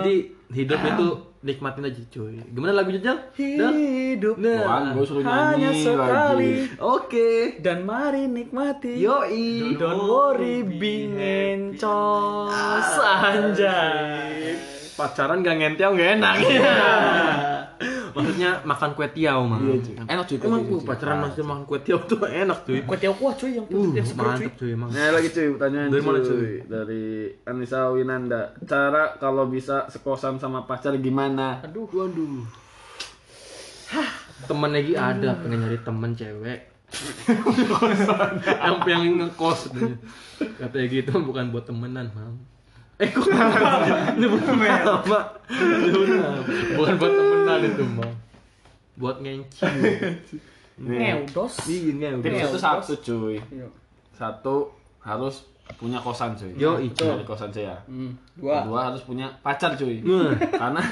Speaker 1: Jadi hidup itu nikmatin aja cuy. Gimana lagu Jajal? Nah.
Speaker 3: Hidup
Speaker 2: Bukan, gua suruh
Speaker 3: hanya
Speaker 2: nyanyi
Speaker 3: sekali.
Speaker 2: lagi.
Speaker 1: Oke.
Speaker 3: Dan mari nikmati.
Speaker 1: Yoi.
Speaker 3: Don't worry being encos
Speaker 1: Ah.
Speaker 3: anjay.
Speaker 1: pacaran gak ngentiau gak enak maksudnya makan kue tiaw mah
Speaker 2: Iya, cuy.
Speaker 1: enak cuy
Speaker 2: Kue
Speaker 1: emang
Speaker 2: tiaw,
Speaker 1: gua
Speaker 2: cuy.
Speaker 1: pacaran
Speaker 2: Parah,
Speaker 1: masih makan kue tiaw tuh enak cuy
Speaker 3: Kue tiaw kuah ya, cuy yang
Speaker 1: uh
Speaker 3: yang seger cuy.
Speaker 1: mantep cuy emang
Speaker 2: Nah lagi cuy pertanyaan
Speaker 1: Dari mana, cuy?
Speaker 2: Dari Anissa Winanda. Cara kalau bisa sekosan sama pacar gimana?
Speaker 3: Aduh.
Speaker 1: waduh temen lagi ada pengen nyari temen cewek
Speaker 3: *laughs*
Speaker 1: yang yang ngekos katanya. katanya gitu bukan buat temenan mam eh
Speaker 3: *laughs*
Speaker 1: kok nyebut nama Nyebut nama. bukan buat temenan itu mam buat ngenci
Speaker 3: Ngeudos.
Speaker 1: iya ngewe.
Speaker 2: Tips itu
Speaker 3: Iya,
Speaker 2: satu cuy. Satu harus punya kosan cuy.
Speaker 1: Yo, iya.
Speaker 2: Cari kosan saya.
Speaker 3: Hmm, dua.
Speaker 2: Kedua harus punya pacar cuy.
Speaker 1: Nah.
Speaker 2: karena *laughs*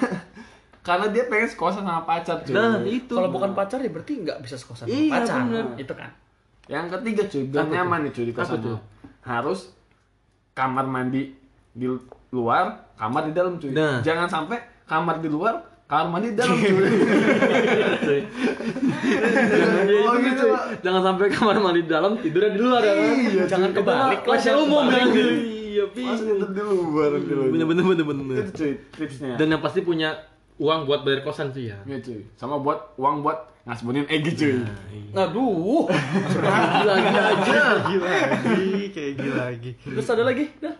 Speaker 2: karena dia pengen sekosan sama pacar cuy.
Speaker 1: Nah, itu.
Speaker 3: Kalau bukan pacar ya berarti nggak bisa sekosan sama
Speaker 1: Iya,
Speaker 3: pacar.
Speaker 1: bener.
Speaker 3: Itu kan.
Speaker 2: Yang ketiga cuy, biar
Speaker 1: Apa tuh?
Speaker 2: nyaman nih cuy di
Speaker 1: Apa tuh?
Speaker 2: kosannya. Harus kamar mandi di luar, kamar di dalam cuy.
Speaker 1: Nah.
Speaker 2: Jangan sampai kamar di luar, kamar mandi di dalam
Speaker 1: *laughs*
Speaker 2: cuy.
Speaker 1: jangan,
Speaker 2: Oh,
Speaker 1: itu,
Speaker 2: gitu,
Speaker 1: cuy.
Speaker 2: Pak.
Speaker 1: jangan sampai kamar mandi di dalam tidurnya di luar ya kan?
Speaker 3: Jangan kebalik lah,
Speaker 1: kelas
Speaker 3: jangan
Speaker 1: umum
Speaker 3: kebalik.
Speaker 1: kan iya Pi.
Speaker 2: Masa tidur di luar gitu loh.
Speaker 1: bener bener bener bener
Speaker 2: Itu cuy tipsnya.
Speaker 1: dan yang pasti punya uang buat bayar kosan sih ya
Speaker 2: Iya, cuy. Sama buat uang buat ngasibunin Egi cuy.
Speaker 3: Aduh.
Speaker 1: gila gila aja
Speaker 6: Gila lagi, kayak gila lagi.
Speaker 3: Terus ada lagi? Dah.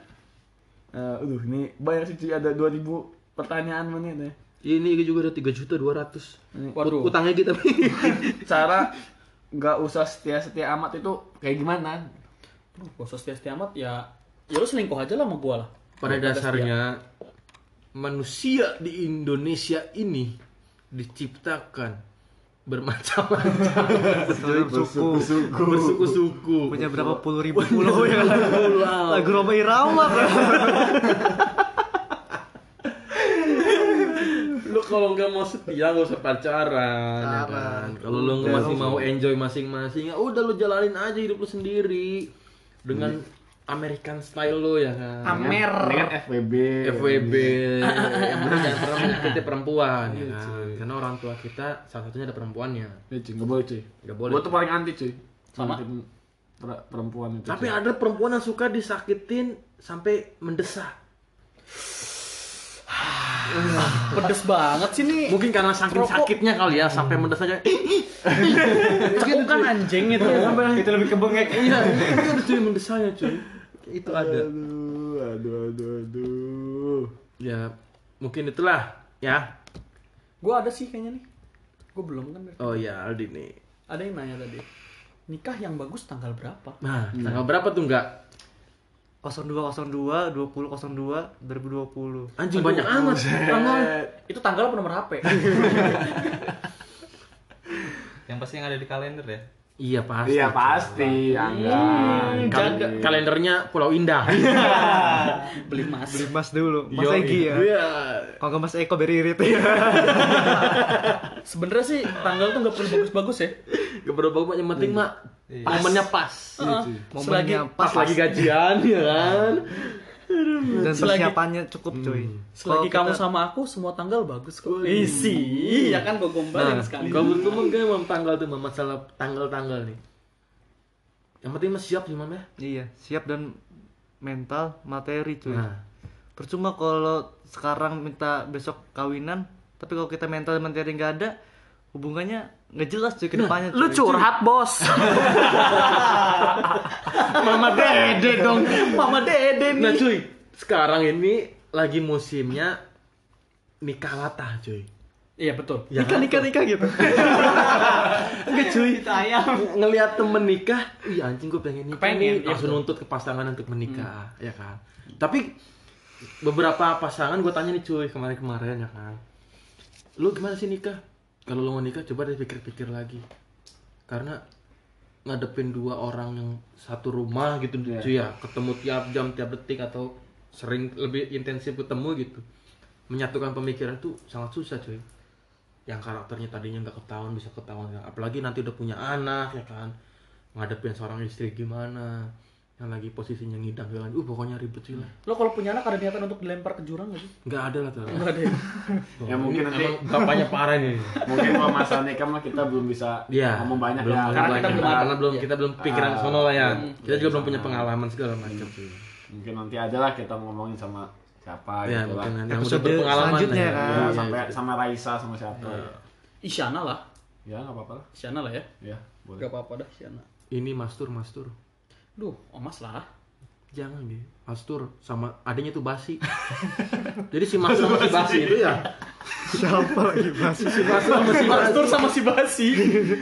Speaker 2: Eh, aduh, ini banyak sih cuy ada 2000 pertanyaan menit ya.
Speaker 1: ini juga ada tiga juta dua ratus
Speaker 3: Waduh.
Speaker 1: utangnya gitu, kita Pi.
Speaker 2: Cara nggak usah setia-setia amat itu kayak gimana?
Speaker 3: Aduh, Gak usah setia-setia amat ya. Ya lu selingkuh aja lah sama gua lah.
Speaker 1: pada dasarnya manusia di Indonesia ini diciptakan bermacam-macam
Speaker 6: Seluruh suku
Speaker 1: bersuku-suku
Speaker 6: punya berapa puluh ribu pulau ya kan? Lagu Roma Irama kan?
Speaker 1: lu kalau nggak mau setia nggak usah pacaran ya kan? kalau lu nggak masih mau enjoy masing-masing ya udah lu jalanin aja hidup lu sendiri dengan American style lu ya kan
Speaker 3: Amer.
Speaker 2: Dengan FWB.
Speaker 1: FWB yang penting jangan pernah *laughs* menyakiti perempuan ya kan? karena orang tua kita salah satunya ada perempuannya
Speaker 2: Ya, cuy, nggak boleh cuy.
Speaker 1: Nggak boleh.
Speaker 2: Gue tuh paling anti cuy.
Speaker 10: Sama.
Speaker 2: Mantan per- perempuan itu.
Speaker 1: Tapi
Speaker 2: cuy.
Speaker 1: ada perempuan yang suka disakitin sampai mendesah.
Speaker 3: Pedes banget sih nih.
Speaker 1: Mungkin karena saking
Speaker 3: Rokok.
Speaker 1: sakitnya kali ya sampai mendesah aja.
Speaker 3: Cekung kan anjing itu.
Speaker 11: Itu lebih ke bengek.
Speaker 1: Iya, itu ada cuy mendesahnya cuy. Itu ada.
Speaker 2: Aduh, aduh, aduh, aduh.
Speaker 1: Ya, mungkin itulah ya.
Speaker 3: Gue ada sih kayaknya nih. Gue belum kan.
Speaker 1: Oh ya Aldi nih.
Speaker 3: Ada yang nanya tadi. Nikah yang bagus tanggal berapa?
Speaker 1: Nah, tanggal berapa tuh enggak?
Speaker 6: 0202 2002 2020
Speaker 1: Anjing banyak amat tanggal.
Speaker 3: Itu tanggal apa nomor HP?
Speaker 12: Yang pasti yang ada di kalender ya.
Speaker 1: Iya pasti.
Speaker 2: Iya pasti, angga.
Speaker 1: Kal- kalendernya Pulau Indah.
Speaker 3: Beli emas.
Speaker 6: beli mas dulu mas Egi ya
Speaker 1: Iya.
Speaker 6: kalau nggak mas Eko beri irit ya
Speaker 3: Sebenarnya sih tanggal tuh nggak perlu bagus-bagus ya.
Speaker 1: Gak perlu bagus yang penting mak momennya pas.
Speaker 3: Iya.
Speaker 2: cuy.
Speaker 3: Selagi
Speaker 6: momennya
Speaker 1: Pas
Speaker 6: pas
Speaker 1: lagi gajian ya kan.
Speaker 6: dan
Speaker 3: Selagi-
Speaker 6: persiapannya cukup cuy
Speaker 3: selagi
Speaker 6: Kalau
Speaker 3: kamu
Speaker 6: kita-
Speaker 3: sama aku semua tanggal bagus kok.
Speaker 1: Wih.
Speaker 3: Isi. Ya kan gue gombalin
Speaker 1: Nah,
Speaker 3: sekali.
Speaker 1: kalau menurut kamu gimana Mam, tanggal tuh Mam? masalah tanggal-tanggal nih. Yang penting mas siap sih mam ya.
Speaker 6: iya siap dan mental materi cuy
Speaker 1: Nah,
Speaker 6: percuma kalau sekarang minta besok kawinan tapi kalau kita mental dan materi nggak ada hubungannya nggak jelas cuy kedepannya
Speaker 3: Lu curhat bos.
Speaker 1: mama dede dong.
Speaker 3: Mama Dede
Speaker 1: Nah
Speaker 3: nih.
Speaker 1: cuy, sekarang ini lagi musimnya nikah latah cuy.
Speaker 3: *laughs* Iya betul.
Speaker 1: Ya,
Speaker 6: nikah nikah nikah gitu
Speaker 1: Enggak cuy, *laughs* Ng- ngelihat temen nikah, iya anjing gue pengen nikah nih,
Speaker 3: Kepengen,
Speaker 1: langsung nuntut ke pasangan untuk menikah, ya kan. Tapi beberapa pasangan gue tanya nih cuy kemarin-kemarin ya kan, lu gimana sih nikah? Kalau lu mau nikah coba deh pikir-pikir lagi, karena ngadepin dua orang yang satu rumah gitu cuy ya, ketemu tiap jam tiap detik atau sering lebih intensif ketemu gitu, menyatukan pemikiran tuh sangat susah cuy yang karakternya tadinya nggak ketahuan bisa ketahuan apalagi nanti udah punya anak ya kan ngadepin seorang istri gimana yang lagi posisinya ngidam jalan uh pokoknya ribet sih lah
Speaker 3: Lo kalau punya anak ada niatan untuk dilempar ke jurang nggak sih?
Speaker 1: nggak ada lah tuh
Speaker 3: Nggak ada. ya?
Speaker 2: Ya, mungkin nanti- *laughs*
Speaker 1: emang kampanye parah nih
Speaker 2: Mungkin kalau masalah nikah mah kita belum bisa
Speaker 1: Iya.
Speaker 2: ngomong banyak
Speaker 1: belum,
Speaker 2: ya.
Speaker 1: karena kita
Speaker 3: belum
Speaker 1: belum
Speaker 3: ada.
Speaker 1: karena belum kita belum pikiran
Speaker 2: Ah,
Speaker 1: sono lah ya
Speaker 2: belum.
Speaker 1: kita juga belum
Speaker 2: Sama.
Speaker 1: punya pengalaman segala macam
Speaker 2: Hmm.
Speaker 1: Iya, sih
Speaker 2: Mungkin nanti aja lah kita ngomongin sama siapa
Speaker 1: ya
Speaker 2: gitu lah.
Speaker 1: mungkin nanti yang udah
Speaker 6: episode
Speaker 1: berpengalaman
Speaker 6: selanjutnya
Speaker 1: lah
Speaker 6: kan.
Speaker 2: Ya,
Speaker 1: Iya,
Speaker 2: sampai
Speaker 1: iya.
Speaker 2: sama Raisa sama siapa.
Speaker 3: Isyana lah.
Speaker 2: Ya nggak apa-apa lah.
Speaker 3: Isyana lah ya.
Speaker 2: Ya, boleh.
Speaker 3: Gak apa-apa dah Isyana.
Speaker 1: ini mastur mastur
Speaker 3: Duh, omas lah.
Speaker 1: jangan deh mastur sama adanya tuh basi *laughs* jadi si mastur sama si basi itu ya
Speaker 6: siapa lagi mas
Speaker 1: si mastur sama si basi
Speaker 3: Pastur sama si Basi.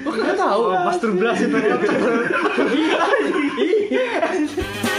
Speaker 3: Oh, Lo kagak tahu.
Speaker 6: mas Turblas itu